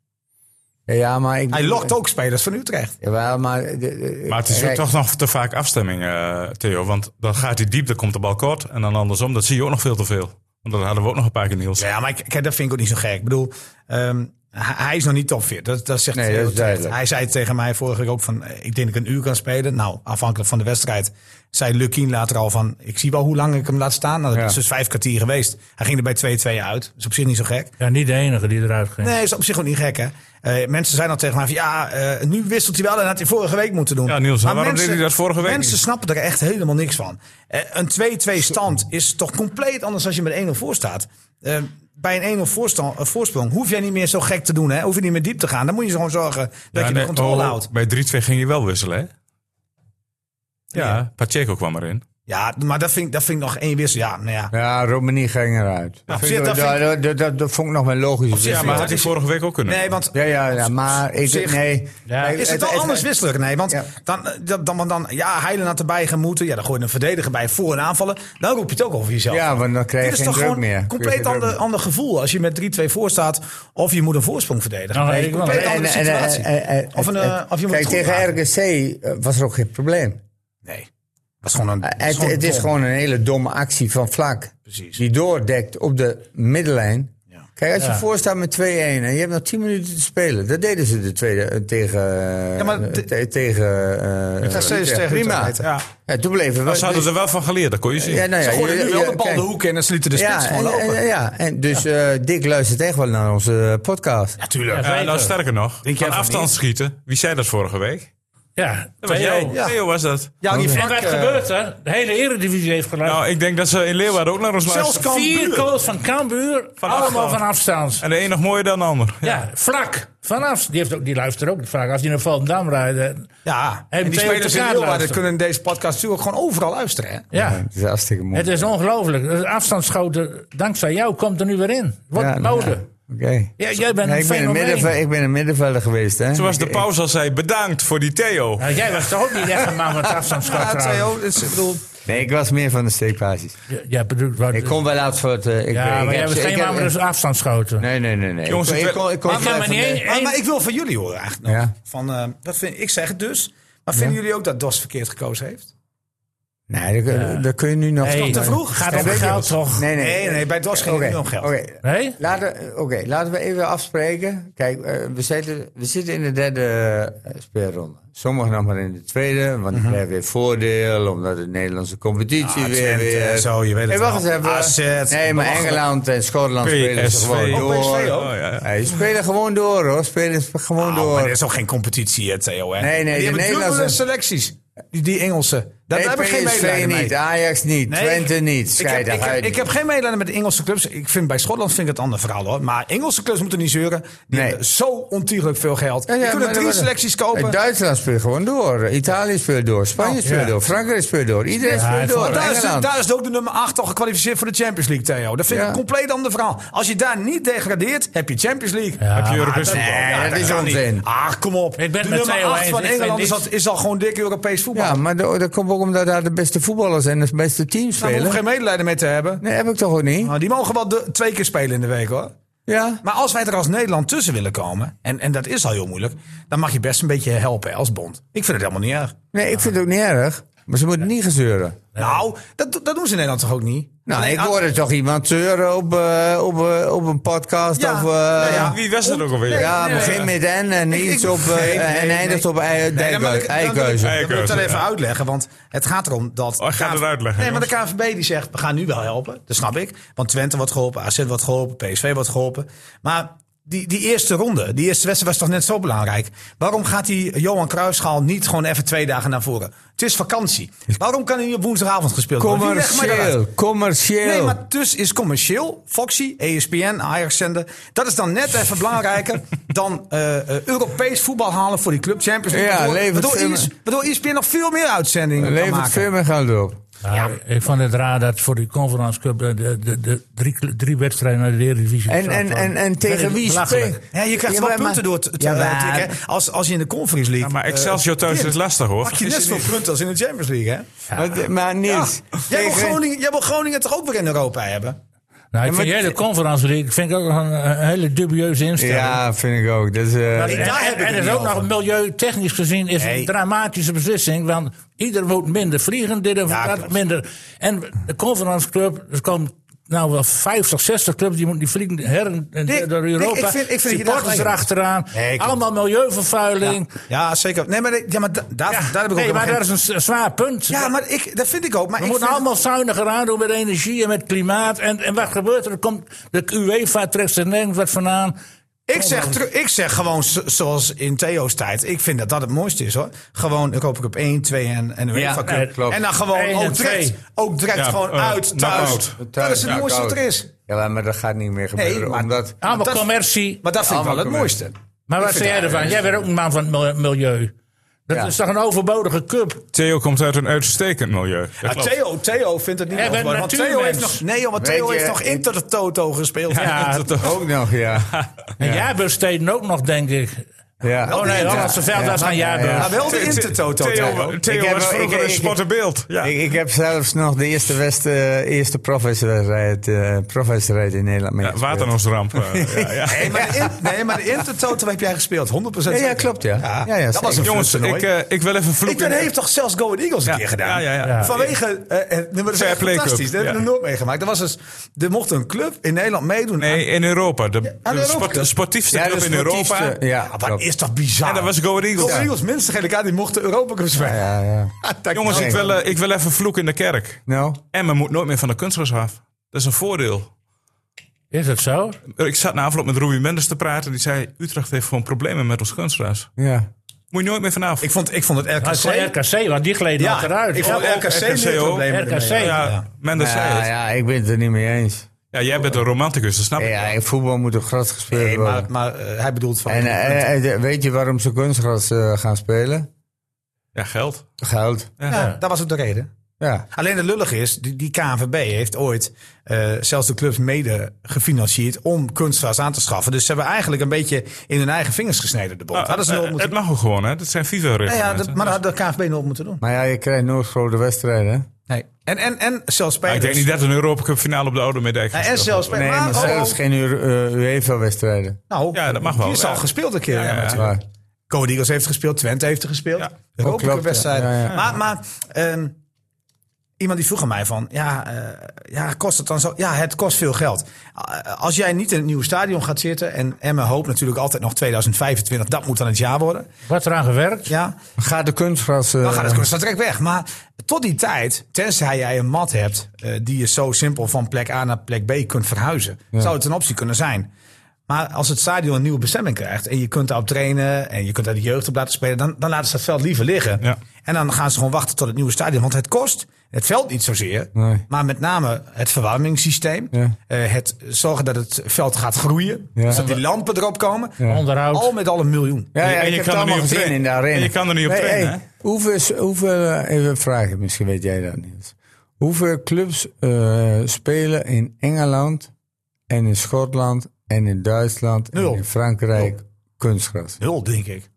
Ja, maar ik...
Hij lokt ook spelers van Utrecht.
Jawel, maar... de- de-
Maar het is ook
kijk,
toch nog te vaak afstemming, eh, Theo. Want dan gaat hij diep, dan komt de bal kort. En dan andersom, dat zie je ook nog veel te veel. Want dat hadden we ook nog een paar keer, Niels.
Ja, maar ik, kijk, dat vind ik ook niet zo gek. Ik bedoel, ehm, hij, hij is nog niet topfit. Dat, dat zegt
Nee,
hij
dat
heel
is
terecht.
duidelijk.
Hij zei tegen mij vorige week ook van, eh, ik denk dat ik een uur kan spelen. Nou, afhankelijk van de wedstrijd, zei Lukien later al van, ik zie wel hoe lang ik hem laat staan. Nou, dat
Ja.
is dus vijf kwartier geweest. Hij ging er bij 2-2 uit. Dat is op zich niet zo gek.
Ja, niet de enige die eruit ging.
Nee, is op zich ook niet gek, hè? Eh, mensen zijn dan tegen mij van, ja, eh, nu wisselt hij wel en had hij vorige week moeten doen.
Ja, Niels, waarom deed hij dat vorige week
Mensen
niet?
snappen er echt helemaal niks van. Eh, een 2-2 stand is toch compleet anders als je met 1-0 voor staat. Eh, bij een 1-0 voorsta- eh, voorsprong hoef jij niet meer zo gek te doen, hè? Hoef je niet meer diep te gaan. Dan moet je gewoon zorgen dat
Ja,
je
nee,
de controle
oh,
houdt.
Bij 3-2 ging je wel wisselen, hè? Ja,
Nee.
Pacheco kwam erin.
Ja, maar dat vind, ik- dat vind ik nog één wissel. Ja, nou ja.
Ja, Romani ging eruit. dat,
op
vind ik,
zich, dat
dat, dat- dat- dat vond ik nog wel logisch.
zich,
Ja, maar had hij
is-
vorige week ook kunnen.
Nee, want
ja, ja, ja, maar ik...
zich-
nee,
Ja.
Ik-
Is het wel anders wisselen? Nee, want
Ja.
dan, eh, dan, dan, want dan, ja, Heilen had erbij gemoeten. Ja, dan gooi je een verdediger bij voor een aanvallen. Dan roep je het ook over jezelf.
Ja, want dan krijg je
Dit is
geen
toch
druk
gewoon
meer.
een
Kun je
compleet
geen
ander,
druk
ander gevoel als je met 3-2 voor staat. Of je moet een voorsprong verdedigen.
Nou,
Nee,
ik
een
wel.
compleet
En-
andere situatie. of, een, eh, of je moet
Kijk,
het goed
tegen
maken.
RKC eh, was er ook geen probleem.
Nee, dat is gewoon een... dat
Het, het is
dom.
gewoon een hele domme actie van Vlak.
Precies.
Die doordekt op de middenlijn. Kijk, als je
Ja.
voorstaat met 2-1 en je hebt nog 10 minuten te spelen. Dat deden ze de tweede eh, tegen... eh,
Ja, maar de-
te- tegen eh,
Dat is
Utrecht.
tegen
Prima.
Utrecht, ja.
Ja, toen bleven we...
Maar ze hadden er wel van geleerd, dat kon je zien.
ja, nou ja,
Ze gooiden
je-
nu wel
je-
de bal
kijk.
de hoek in en sliten de spits
Ja,
gewoon
en,
lopen.
en- ja, en dus eh, Dick luistert echt wel naar onze eh, podcast.
Natuurlijk.
Ja, nou,
Zeker.
sterker nog,
Denk jij
van
van
afstand schieten. Wie zei dat vorige week?
Ja,
Dat was jij.
Theo.
Ja.
Theo was dat.
Ja, die
En
Frank...
wat
eh,
gebeurt er? De hele eredivisie heeft geluisterd.
Nou, ik denk dat ze in Leeuwarden ook naar ons
Zelfs
luisteren.
kan
Vier goals van Cambuur, allemaal
afstand.
van afstand.
En de een nog mooier dan de ander.
Ja, vlak. Vanaf. Die, heeft ook, die luistert ook vaak. Als die naar Valdendam rijdt. eh,
Ja,
Hey,
en die
meteen op de
spelers in
kaart
Leeuwarden
luisteren.
kunnen in deze podcast natuurlijk ook gewoon overal luisteren. Hè?
Ja.
Het is hartstikke mooi.
Het is ongelooflijk. Het afstandsschoten, dankzij jou, komt er nu weer in. Wordt
Ja, nou
mode.
ja, Oké.
Ja, jij bent
Ja,
een
ik, ben een
fenomeen.
middenve- ik ben een middenvelder geweest. Hè?
Toen was de
Ik-
pauze al zei, bedankt voor die Theo.
Nou, jij was toch ook niet echt een man met afstandsschoten?
Ja,
trouwens?
Theo, dus, ik bedoel...
Nee, ik was meer van de steekbasis.
Ja, jij bedoelt wat-
Ik kom wel uit voor het... eh, Ik,
ja, maar
ik
jij bent
ik
geen man met afstandsschoten.
Nee, nee, nee. nee.
Jongens,
ik,
het-
ik, kon- ik kon
Maar
wel
maar
van
niet
de-
één-
Maar,
één-
maar ik wil van jullie horen eigenlijk nog.
Ja.
Van, eh, dat vind, ik zeg het dus. Maar vinden jullie ook dat DOS verkeerd gekozen heeft?
Nee, dat, dat kun je nu nog...
Nee,
te vroeg?
Gaat om
Nee,
geld toch?
Nee, nee.
Nee, nee, bij DOS ging
Oké,
het niet om geld.
Oké,
Nee?
laten, oké, laten we even afspreken. Kijk, eh, we, zitten, we zitten in de derde eh, speelronde. Sommigen nog maar in de tweede, want die krijgen weer voordeel... omdat de Nederlandse competitie
Mhm. Ah,
weer...
Twente
weer
en zo, je weet het
Hey, wacht
wel.
eens even.
AZ,
nee, maar
belachelijk.
Engeland en Schotland spelen ze
PSV.
gewoon
Oh,
door.
PSV ook?
Oh, ja, ja.
Hey, ze spelen gewoon door, hoor. Spelen ze gewoon
Oh,
door.
maar er is ook geen competitie, eh, Theo. Hè?
Nee, nee,
die
de
hebben
Nederlandse-
dubbele selecties. Die, die Engelse. Daar
Nee,
heb ik geen
PSV
medelijden mee.
niet, Ajax niet,
Nee,
Twente
ik-
niet.
Ik heb,
Scheid
ik, heb,
eruit.
ik heb geen medelijden met de Engelse clubs. Ik vind, bij Schotland vind ik het een ander verhaal hoor. Maar Engelse clubs moeten niet zeuren. Die
Nee.
hebben zo ontiegelijk veel geld. Die kunnen drie selecties kopen.
Duitsland speelt gewoon door. Italië speelt door. Spanje
Oh,
speelt
ja.
door. Frankrijk speelt door. Iedereen
hij
speelt door.
Maar daar is,
Engeland.
daar is ook de nummer 8 al gekwalificeerd voor de Champions League, Theo. Dat vind ik
Ja.
een compleet ander verhaal. Als je daar niet degradeert, heb je Champions League.
Heb je Europees
dat-
voetbal?
Nee, dat is
kan
onzin.
niet. Ah, kom op.
Ik ben
de
met
nummer
Theo
8
eens.
van
Ik vind
Engeland is,
niks-
al- is al gewoon dik Europees voetbal.
Ja,
Ja,
maar dat, dat komt ook omdat daar de beste voetballers en de beste teams
daar hoef ik
spelen.
geen medelijden mee te hebben.
Nee, heb ik toch ook niet?
Nou, die mogen wel de- twee keer spelen in de week hoor.
Ja.
Maar als wij er als Nederland tussen willen komen, en, en dat is al heel moeilijk, dan mag je best een beetje helpen als bond. Ik vind het helemaal niet erg.
Nee, ik vind het ook niet erg. Maar ze moeten niet gezeuren.
Nou, dat, dat doen ze in Nederland toch ook niet?
Nou,
Alleen
ik
als-
hoorde toch iemand zeuren op, eh, op, eh, op een podcast
Ja.
of... eh,
Ja, ja.
ja,
Wie was dat ook alweer?
begin met en en
Ik-
iets
ik-
op... eh,
nee,
en
nee,
eindigt
nee.
op
Nee,
ei-
dan wil ik- dan
dijkhuis-
wil ik-
eikhuizen.
Dan wil ik dat
Eikhuizen,
even
ja.
uitleggen, want het gaat erom dat...
Oh, ik ga
de
het
KNV
uitleggen,
Nee, maar de KNVB die zegt, we gaan nu wel helpen. Dat snap ik. Want Twente wordt geholpen, AZ wordt geholpen, PSV wordt geholpen. Maar die, die eerste ronde, die eerste wedstrijd was toch net zo belangrijk. Waarom gaat die Johan Cruijffschaal niet gewoon even twee dagen naar voren? Het is vakantie. Waarom kan hij niet op woensdagavond gespeeld worden? Wie legt mij dat uit?
Commercieel, commercieel.
Nee, maar dus is commercieel. Foxy, E ESPN, Ajax-zender. Dat is dan net even belangrijker dan eh, eh, Europees voetbal halen voor die club Champions League.
Ja,
waardoor,
levert
waardoor,
veel
ES
meer-
waardoor ESPN nog veel meer uitzendingen kan
Levert
maken.
veel meer geld op.
Ja, Ik vond het raar dat voor die Conference Cup de, de, de, de drie, kle- drie wedstrijden naar de Eredivisie.
En,
zat.
en, en, en tegen wie
Belachelijk.
speelt...
Ja, je krijgt
Ja,
wel
maar-
punten door het het,
Ja,
eh,
maar-
tikken, hè. Als, als je in de Conference League...
Ja, maar Excelsior thuis
eh,
is lastig hoor.
pak je
Is
net
het
zoveel
niet?
punten als in de Champions League, hè?
Maar, maar Niels...
Jij, wil
tegen-
Groningen, jij wil Groningen toch ook weer in Europa hebben?
Nou, ik
maar
vind jij de
dit-
Conference League vind ik ook nog een, een hele dubieuze instelling.
Ja, vind ik ook. Dat is, eh,
En,
Daar heb
en,
ik het
en is
niet
ook nog
over.
milieutechnisch gezien is
Nee.
een dramatische beslissing. Want ieder moet minder vliegen, dit en
Ja,
dat
klopt.
minder. En de Conference Club, er komen nou wel 50, 60 clubs die, moeten- die vliegen her en
Dick,
door
Dick,
Europa.
ik vind- ik vind dat je daar
Supporters
gelijk
erachteraan.
Nee, klopt.
allemaal milieuvervuiling.
Ja, zeker. Nee, maar, de- ja, maar da- daar,
Ja,
daar heb ik ook
nee,
helemaal
maar dat
geen-
is een s- zwaar punt.
Ja, maar ik, dat vind ik ook. Maar
we
ik
moeten
vind-
allemaal zuiniger aan doen met energie en met klimaat. En, en wat gebeurt er? Er komt de UEFA trekt er nergens wat vandaan.
Ik zeg, teru- ik zeg gewoon zo- zoals in Theo's tijd. Ik vind dat dat het mooiste is hoor. Gewoon Europa Cup 1, 2 en, en UEFA Cup.
nee, klopt.
En dan gewoon
Eén en
ook direct,
twee.
ook direct
Ja,
gewoon
eh,
uit, thuis.
knock-out.
Dat is het
Ja,
mooiste wat er
koud.
is.
Ja, maar dat gaat niet meer gebeuren.
Nee, maar-
omdat,
Allemaal
Dat-
commercie.
Maar dat vind ik wel
Allemaal
het mooiste.
Maar wat
vind
zei jij
het
ervan? Jij bent ook een man van het mil- milieu. Dat
Ja.
is toch een overbodige cup?
Theo komt uit een uitstekend milieu. Dat
Maar
klopt.
Theo, Theo vindt het niet
Jij
erg,
bent
maar- Want Theo heeft nog,
natuurmens.
nee, joh, want
Weet
Theo
je,
heeft nog
ik-
Inter de Toto gespeeld.
Ja,
Dat toch?
ook nog, ja.
en jaarbeurssteden ook nog, denk ik.
ja.
Oh nee,
Inter.
Hollandse veld was
Ja.
gaan jaarbeurs.
Maar wel de Inter Toto. Theo.
Theo, Theo
Ik heb-
was vroeger
ik-
een
ik-
sportenbeeld. Ja.
Ik, ik heb zelfs nog de eerste, West, eh, eerste profwedstrijd eh, profwedstrijd in Nederland mee.
Ja, Waternoosramp. eh, ja, ja.
Nee, maar de, in, nee, maar de Inter Toto heb jij gespeeld, 100%
Ja, ja,
zeker.
klopt, ja.
Ja,
ja, ja
dat was
zeker.
een
Jongens,
vloedtoernooi.
ik, eh, ik wil even
Ik ben
vloeken.
heeft toch zelfs Go Ahead Eagles een
Ja,
keer gedaan.
ja, ja, ja.
Vanwege eh, eh, nee, maar dat
Fair
is
play
fantastisch. Dat
club,
hebben we
ja.
nog nooit meegemaakt. Er was dus, er mocht een club in Nederland meedoen.
Nee, in Europa. De,
aan
de
Europa.
sport- de sportiefste
Ja,
club
de
in Europa.
sportiefste, Ja,
Ah, maar
klopt.
is toch bizar?
En dat was Go Ahead Eagles.
Go Ahead
Ja.
Eagles, minste gele kaart, die mochten Europa Cup spelen.
Ja, ja.
Dat-
Jongens, ik wil, eh, ik wil even vloeken in de kerk.
Nou,
Emmen moet nooit meer van de kunstgras af. Dat is een voordeel.
Is het zo?
Ik zat na afloop met Ruby Mendes te praten. Die zei, Utrecht heeft gewoon problemen met ons kunstgras.
ja.
Moet je nooit meer vanaf.
ik, vond, ik vond het RKC...
Dat is RKC, want die gleden
ja,
achteruit.
ik vond
Ja,
RKC,
RKC
meer
ook.
problemen.
RKC.
ermee.
Nou ja,
ja.
Mendes zei
Ja,
het.
ja, ik ben het er niet mee eens.
Ja, jij bent een romanticus, dat snap ik.
Ja, voetbal moet op gras gespeeld
Nee,
worden.
maar, maar eh, hij bedoelt van...
En eh, eh, eh, weet je waarom ze kunstgras eh, gaan spelen?
Ja, geld.
Geld.
eh, ja, dat was ook de reden.
Ja.
Alleen het lullige is, die, die KNVB heeft ooit eh, zelfs de clubs mede gefinancierd om kunstgras aan te schaffen. Dus ze hebben eigenlijk een beetje in hun eigen vingers gesneden, de bond.
Nou,
Hadden ze
eh,
nooit moeten
Het mag ook gewoon, hè? Dat zijn
Nee, ja,
FIFA-reglementen.
dat, maar dat had de KNVB nooit moeten doen.
Maar ja, je krijgt nooit grote wedstrijden. hè?
Nee. En, en, en zelfs
Maar
spelers...
Nou, ik denk niet dat een Europa Cup finale op de Oude Meerdijk
Ja, en
gespeeld
zelfs
wordt.
spelers...
Nee, maar
oh,
zelfs
oh,
geen Ure- eh, UEFA-wedstrijden.
nou,
Ja, dat mag wel,
Die is al
ja.
gespeeld een keer. Ja,
Ja, ja.
natuurlijk.
Maar-
Code Eagles heeft gespeeld, Twente heeft er gespeeld.
Ja.
Oh,
Europa
klopt,
Cup wedstrijden.
ja, ja, ja.
Maar, maar ehm, iemand die vroeg aan mij van, ja, eh, ja, kost het dan zo? Ja, het kost veel geld. Eh, als jij niet in het nieuwe stadion gaat zitten en Emmen hoopt natuurlijk altijd nog 2025, dat moet dan het jaar worden.
Wordt eraan gewerkt?
Ja,
Gaat de kunstgras... eh,
dan gaat het kost direct weg. Maar tot die tijd, tenzij jij een mat hebt eh, die je zo simpel van plek A naar plek B kunt verhuizen, zou het een optie kunnen zijn. Maar als het stadion een nieuwe bestemming krijgt en je kunt daarop trainen en je kunt daar de jeugd op laten spelen, dan, dan laten ze dat veld liever liggen.
Ja.
En dan gaan ze gewoon wachten tot het nieuwe stadion. Want het kost het veld niet zozeer,
Nee.
maar met name het verwarmingssysteem.
Ja.
eh, het zorgen dat het veld gaat groeien.
Ja.
Dus dat die lampen erop komen.
Onderhoud.
Al met al een miljoen.
Ja, ja,
en
ik heb
je kan
het
er
allemaal
niet op
gezien
trainen.
in de arena.
En je kan er niet op
Nee,
trainen,
hey,
hè?
hoeveel, hoeveel, eh, even vragen, misschien weet jij dat niet. Hoeveel clubs eh, spelen in Engeland en in Schotland en in Duitsland
Nul.
en in Frankrijk kunstgras?
Nul, denk ik.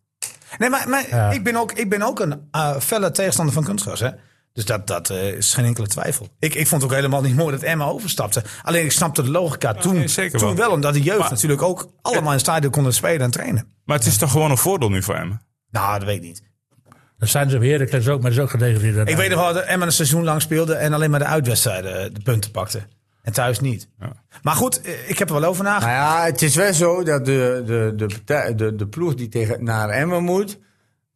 Nee, maar, maar ik, ben ook, ik ben ook een eh, felle tegenstander van kunstgras, hè. Dus dat, dat eh, is geen enkele twijfel. Ik, ik vond het ook helemaal niet mooi dat Emma overstapte. Alleen ik snapte de logica toen,
nee, zeker
toen
wel.
wel. Omdat de jeugd
Maar-
natuurlijk ook allemaal in het stadion konden spelen en trainen.
Maar het is toch gewoon een voordeel nu voor hem?
Nou, dat weet ik niet.
Dat zijn ze op Heracles ook, maar dat is ook gedegradeerd.
Ik weet nog wel dat Emma een seizoen lang speelde en alleen maar de uitwedstrijden eh, de punten pakte. En thuis niet. Maar goed, eh, ik heb er wel over nagedacht.
Nou ja, het is wel zo dat de, de, de, partij- de, de ploeg die tegen, naar Emmen moet,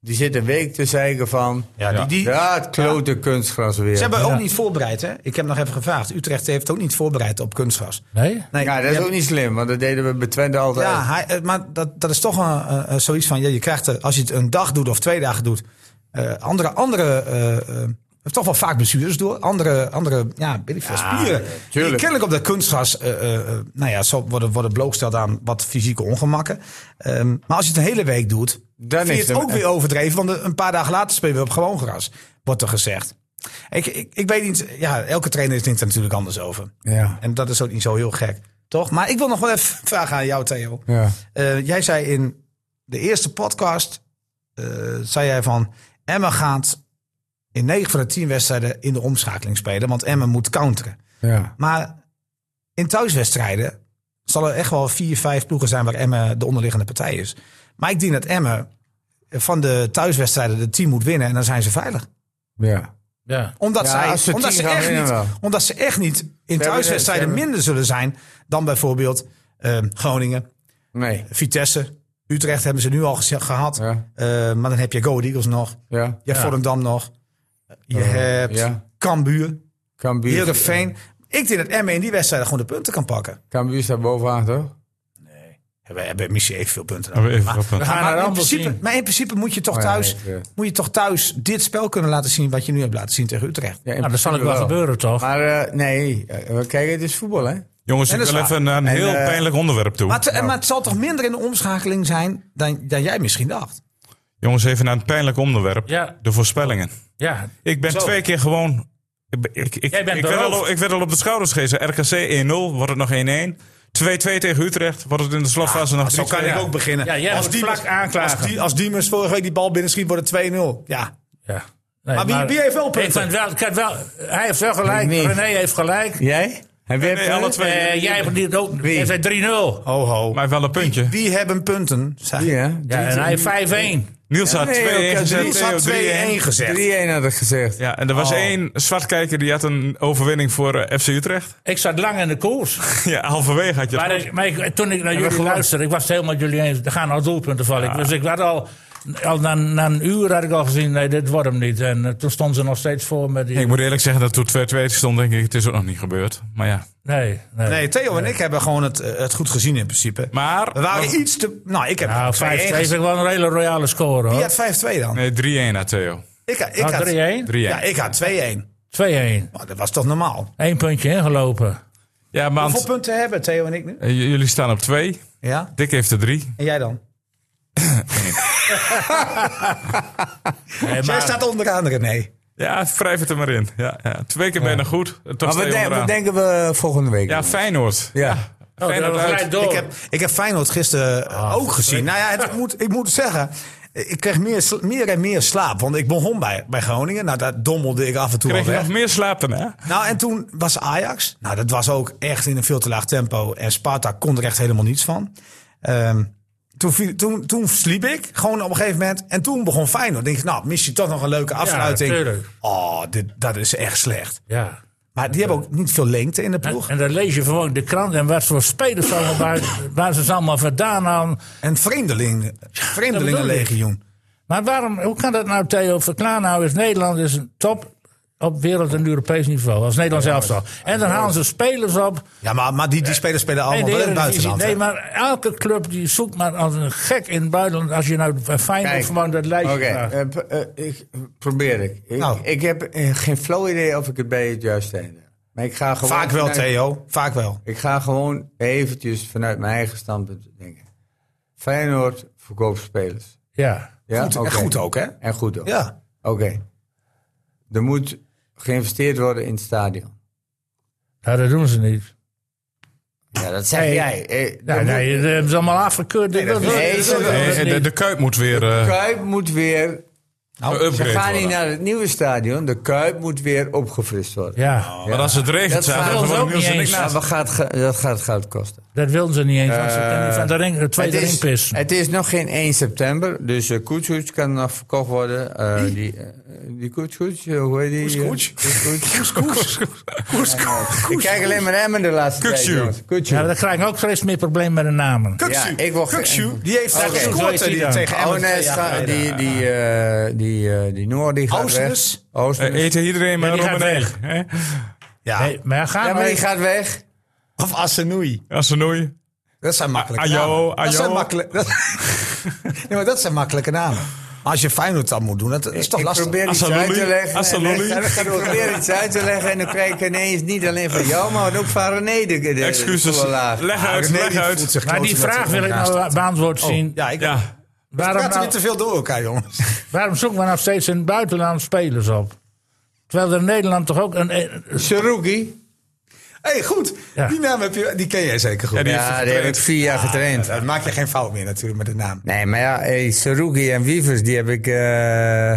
die zit een week te zeiken van...
Ja, die- die-
ja, het klote kunstgras weer.
Ze hebben ook niet voorbereid, hè? Ik heb nog even gevraagd. Utrecht heeft ook niet voorbereid op kunstgras.
Nee?
Nee,
ja, dat is
je
ook niet slim, want dat deden we bij Twente altijd.
Ja, hij, eh, maar dat, dat is toch een, eh, eh, zoiets van, ja, je krijgt er, als je het een dag doet of twee dagen doet, eh, andere, andere eh, eh, toch wel vaak bestuurders door, andere, andere ja, weet ik veel, spieren. Die
tuurlijk.
kennelijk op dat kunstgras, eh, eh, eh, nou ja, zo worden, worden blootgesteld aan wat fysieke ongemakken. Ehm, maar als je het een hele week doet,
Dan
vind je
is
het
het een-
ook weer overdreven, want een paar dagen later spelen we op gewoon gras, wordt er gezegd. Ik, ik, ik weet niet, ja, elke trainer denkt er natuurlijk anders over.
Ja.
En dat is ook niet zo heel gek, toch? Maar ik wil nog wel even vragen aan jou, Theo.
Ja.
Eh, jij zei in de eerste podcast, eh, zei jij van Emma gaat in 9 van de 10 wedstrijden in de omschakeling spelen, want Emma moet counteren.
ja.
Maar in thuiswedstrijden zal er echt wel vier, vijf ploegen zijn waar Emma de onderliggende partij is. Maar ik denk dat Emma van de thuiswedstrijden de 10 moet winnen en dan zijn ze veilig.
ja.
Ja.
Omdat,
Ja, als
zij,
ze
omdat,
10
ze
gaan
echt
winnen
niet,
wel.
omdat ze echt niet in
hebben-
thuiswedstrijden
ze hebben-
minder zullen zijn dan bijvoorbeeld eh, Groningen,
Nee.
Vitesse, Utrecht hebben ze nu al geze- gehad.
Ja.
Eh, maar dan heb je Go Ahead Eagles nog.
Ja. Oh,
Je hebt Volendam nog. Je hebt
ja.
Cambuur,
Cambuur.
Heerenveen. Ik denk dat Emmen in die wedstrijden gewoon de punten kan pakken.
Cambuur staat bovenaan, toch?
We hebben misschien evenveel punten.
Hebben we
maar,
evenveel punten.
maar
We gaan naar
in
Rambel
principe,
zien.
maar in principe moet je, toch
Oh ja,
thuis,
nee, Utrecht.
moet je toch thuis dit spel kunnen laten zien... wat je nu hebt laten zien tegen Utrecht.
Ja, in
Nou, dat zal ook
principe
wel gebeuren, toch?
Maar eh, nee, eh, kijk, het is voetbal, hè?
Jongens,
En
ik
dat is
wil even naar een
En,
heel
eh,
pijnlijk onderwerp toe.
Maar, het- maar het zal toch minder in de omschakeling zijn... dan, dan jij misschien dacht.
Jongens, even naar een pijnlijk onderwerp.
Ja.
De voorspellingen.
Ja.
Ik ben twee keer gewoon... Ik, ben- ik, ik,
Jij bent
ik, werd
beroofd.
al, ik werd al op de schouders gegeven. RKC 1-0, wordt het nog 1-1. 2-2 tegen Utrecht, wordt het in de slotfase nog 3-2.
Ah, Zo kan ik
Ja.
ook beginnen.
Ja, jij
als
moet
Diemers-
vlak aanklagen.
Als, die, als Diemers vorige week die bal binnenschiet, wordt het 2-0. Ja,
ja. Nee,
Maar wie- wie heeft wel punten?
Ik vind wel, ik heb wel, hij heeft wel gelijk,
Nee.
René heeft gelijk.
Jij? En we
Nee, alle twee.
Eh, jij hebt niet ook.
Wie?
Jij zei 3-0.
ho ho.
Maar wel een puntje.
Wie hebben punten? Zeg.
Ja,
Ja, en hij heeft 5-1.
Niels had 2-1
nee, ook,
gezet,
Niels
Theo
had
3-1.
2-1 gezegd.
3-1 had ik gezegd.
Ja, en er was
Oh.
één zwartkijker die had een overwinning voor eh, FC Utrecht.
Ik zat lang in de koers.
Ja, halverwege had je het
Maar, ik- maar ik- toen ik naar jullie luisterde, ik was het helemaal met jullie eens. Er gaan al doelpunten vallen. Dus ik had al, al na, na een uur had ik al gezien, nee, dit wordt hem niet. En eh, toen stonden ze nog steeds voor met die...
Ik moet eerlijk zeggen dat toen 2-2 stond, denk ik, het is ook nog niet gebeurd. Maar ja.
nee, nee.
Nee, Theo en ik hebben gewoon het, eh, het goed gezien in principe.
Maar...
We waren iets te... Nou, ik heb
Nou,
2-1
5 2 is
gezien.
wel een hele royale score,
Wie
hoor.
had 5-2 dan?
Nee, 3-1 naar Theo.
Ik, ik
Nou,
had
3-1,
3-1.
Ja, ik had 2-1.
2-1.
Nou, dat was toch normaal?
Eén puntje ingelopen.
Ja, want
Hoeveel punten hebben Theo en ik nu?
eh, j- jullie staan op 2.
Ja,
Dick heeft er 3.
en jij dan?
Nee,
Jij
maar-
staat onderaan, René.
Ja, wrijf het er maar in. Ja, ja. Twee keer bijna goed. Eh, Toch
Maar
twee
wat, denk-
onderaan.
wat denken we volgende week?
Ja, Feyenoord.
ja.
Oh, dat
Feyenoord
was
uit.
gelijk door.
Ik heb, ik heb Feyenoord gisteren eh,
Ah,
ook gezien. Nou ja, het, ik, moet, ik moet zeggen, ik kreeg meer, sla- meer en meer slaap. Want ik begon bij, bij Groningen. Nou, daar dommelde ik af en toe
Kreeg
al
je
weg.
nog meer slapen, hè?
Nou, en toen was Ajax. Nou, dat was ook echt in een veel te laag tempo. En Sparta kon er echt helemaal niets van. Ehm, toen, viel- toen, toen sliep ik gewoon op een gegeven moment. En toen begon Feyenoord. Denk ik, nou, mis je toch nog een leuke afsluiting.
tuurlijk.
oh, dit, dat is echt slecht.
Ja.
Maar die hebben ook niet veel lengte in de ploeg.
En dan lees je gewoon de krant en wat voor spelers allemaal waar, waar ze ze allemaal vandaan aan.
En vreemdeling, vreemdelingenlegioen.
Maar waarom, hoe kan dat nou, Theo? Verklaar nou eens, Nederland is een top. op wereld- en Europees niveau. Als Nederlands elftal. En dan halen ze spelers op.
Ja, maar, maar die, die spelers spelen allemaal wel in het
Eredivisie.
buitenland.
Nee,
hè?
maar elke club die zoekt maar als een gek in het buitenland. Als je nou bij Feyenoord
Kijk,
gewoon dat lijstje
Oké,
vraagt.
eh, p- eh, ik probeer ik. Ik,
Nou.
ik heb eh, geen flauw idee of ik het bij het juiste einde. heb. Maar ik ga gewoon
Vaak wel,
vanuit-
Theo. Vaak wel.
Ik ga gewoon eventjes vanuit mijn eigen standpunt denken. Feyenoord verkoopt spelers.
Ja.
Ja?
Goed,
Oké.
En goed ook, hè?
En goed ook.
Ja.
Oké. Er moet geïnvesteerd worden in het stadion.
Nou, dat doen ze niet.
Ja, dat zeg
Nee.
jij. Eh,
Nee,
er moet-
nee, dat hebben ze allemaal afgekeurd. dat
is-
dat-
nee,
dat-
ze-
dat- dat-
Nee,
dat-
de, de Kuip moet weer eh
Kuip moet weer... Ze
upgrade
gaan
worden.
niet naar het nieuwe stadion. De Kuip moet weer opgefrist worden.
Ja,
Maar als het regent,
Dat
zijn
gaat
dan
ons
worden
ook
Niels en
niet
ik
eens.
naast.
Maar we Nou, gaat, ge- dat gaat goud kosten.
dat wilden ze niet eens. want ze kunnen niet van de ring, de
Eh, Het
tweede
is,
ringpis.
het is nog geen 1 september, dus uh, kan nog verkocht worden. Eh, die eh, die Koetskoets, eh, hoe heet die?
Koetskoets?
Koetskoets.
Koers,
Ik kijk alleen maar Emmen de laatste
Kuksu.
tijd. jongens. Kuksu.
Ja, maar dan krijg ik ook steeds meer problemen met de namen.
Ja, ik wil
Kukshu, die heeft
Oké.
daar
Zo
gescoord
is hij
die
dan.
tegen Emmen.
Oh nee,
twee jaar
scha-
geleden.
die, die, eh die, eh, die Noor die gaat
Oosterus?
weg. Oosterus.
Eh, eten iedereen maar
Ja, die
Rob en
gaat
Eeg, hè?
Ja.
Nee, maar ja,
ja,
gaan
maar
we.
eh,
die gaat weg.
Of Assenoui.
Als een noei.
Dat zijn makkelijke
Ajo,
namen. Dat
ajo.
zijn makkelijke... dat- Nee, maar dat zijn makkelijke namen. Maar als je Feyenoord dan moet doen, dat is toch
ik
lastig.
probeer iets
Assaloli.
uit te leggen.
Assaloli.
En dan ga ik proberen iets uit te leggen en dan krijg ik ineens niet alleen van jou, maar ook van René de, de- de
Excuses.
volle laag.
Leg uit,
René,
leg
die voelt
uit.
zich
Maar die
kloten met
vraag
zijn
wil ik
naast.
nou beantwoord
Oh,
zien.
Ja, ik praat
Ja,
waarom,
er
nou-
niet te veel door elkaar, jongens.
waarom zoeken we nou steeds in het buitenland spelers op? Terwijl er in Nederland toch ook een. eh,
Saruki.
hey, goed.
Ja.
Die naam heb je, die ken jij zeker goed.
Ja, die- heeft
Ja,
hij
die heb ik
getraind.
vier jaar getraind.
Dan maak je geen fout meer natuurlijk met de naam.
Nee, maar ja, hey, Sarugi en Wievers, die heb ik... eh,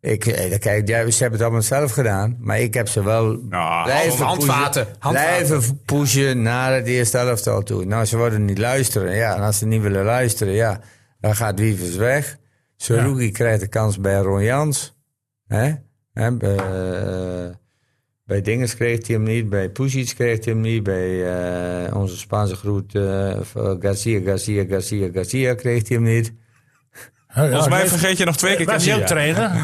ik eh, dan kijk, ja, ze hebben het allemaal zelf gedaan. Maar ik heb ze wel
Nou,
blijven,
hand- handvaten,
pushen,
handvaten.
blijven pushen naar het eerste elftal toe. Nou, ze worden niet luisteren. Ja, en als ze niet willen luisteren, ja, dan gaat Wievers weg. Sarugi krijgt de kans bij Ron Jans. Hè? Hè, bij, eh, bij Dinges kreeg hij hem niet, bij Pusic kreeg hij hem niet, bij eh, onze Spaanse groet eh, Garcia, Garcia, Garcia, Garcia kreeg hij hem niet.
volgens mij vergeet je nog twee keer
Was hij ook
Casilla.
trainer?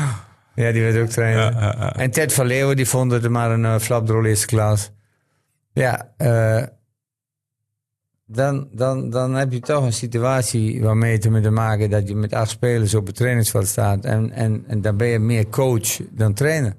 Ja, die werd ook trainer.
Ja, ja, ja.
En Ted van Leeuwen, die vond het maar een eh, flapdrol eerste klas. Ja, eh, dan, dan, dan heb je toch een situatie waarmee te moeten maken dat je met acht spelers op het trainingsveld staat. En, en, en dan ben je meer coach dan trainer.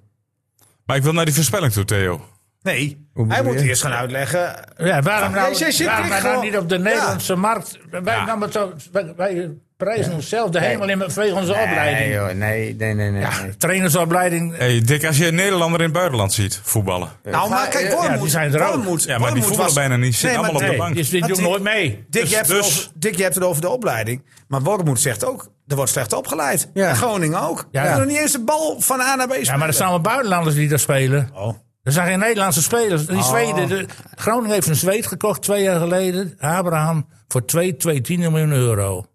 Maar ik wil naar die voorspelling toe, Theo.
Nee,
Hoe
hij
bedoel
moet
je?
eerst gaan uitleggen.
Ja, waarom nou,
Jezus, je
waarom
klikt
wij nou
gewoon.
niet op de Nederlandse markt? Wij,
Ja.
namen toch- wij, wij prijzen onszelf de hemel in vanwege onze
Nee,
opleiding.
joh, nee, nee, nee. nee,
Ja,
nee.
trainersopleiding.
Hey, Dick, als je een Nederlander in het buitenland ziet voetballen.
Nou, maar kijk,
ja,
Wormoed...
die zijn er ook.
Wormoed-
Ja, maar die
Wormoed
voetballen
was-
bijna niet. Zitten
maar
allemaal op de
nee.
bank.
Dus die
Maar
doen
Dick-
nooit mee.
Dick, je hebt het
dus-
over- Dick, je hebt het over de opleiding. Maar Wormoed zegt ook, er wordt slecht opgeleid.
Ja.
Groningen ook.
Ja.
Ja. kunnen niet eens de bal van A naar B spelen.
Ja, maar er zijn allemaal buitenlanders die daar spelen.
Oh.
Er zijn geen Nederlandse spelers. Die Zweden, de- Groningen heeft een Zweed gekocht twee jaar geleden. Abraham voor 2, 2, 10 miljoen euro.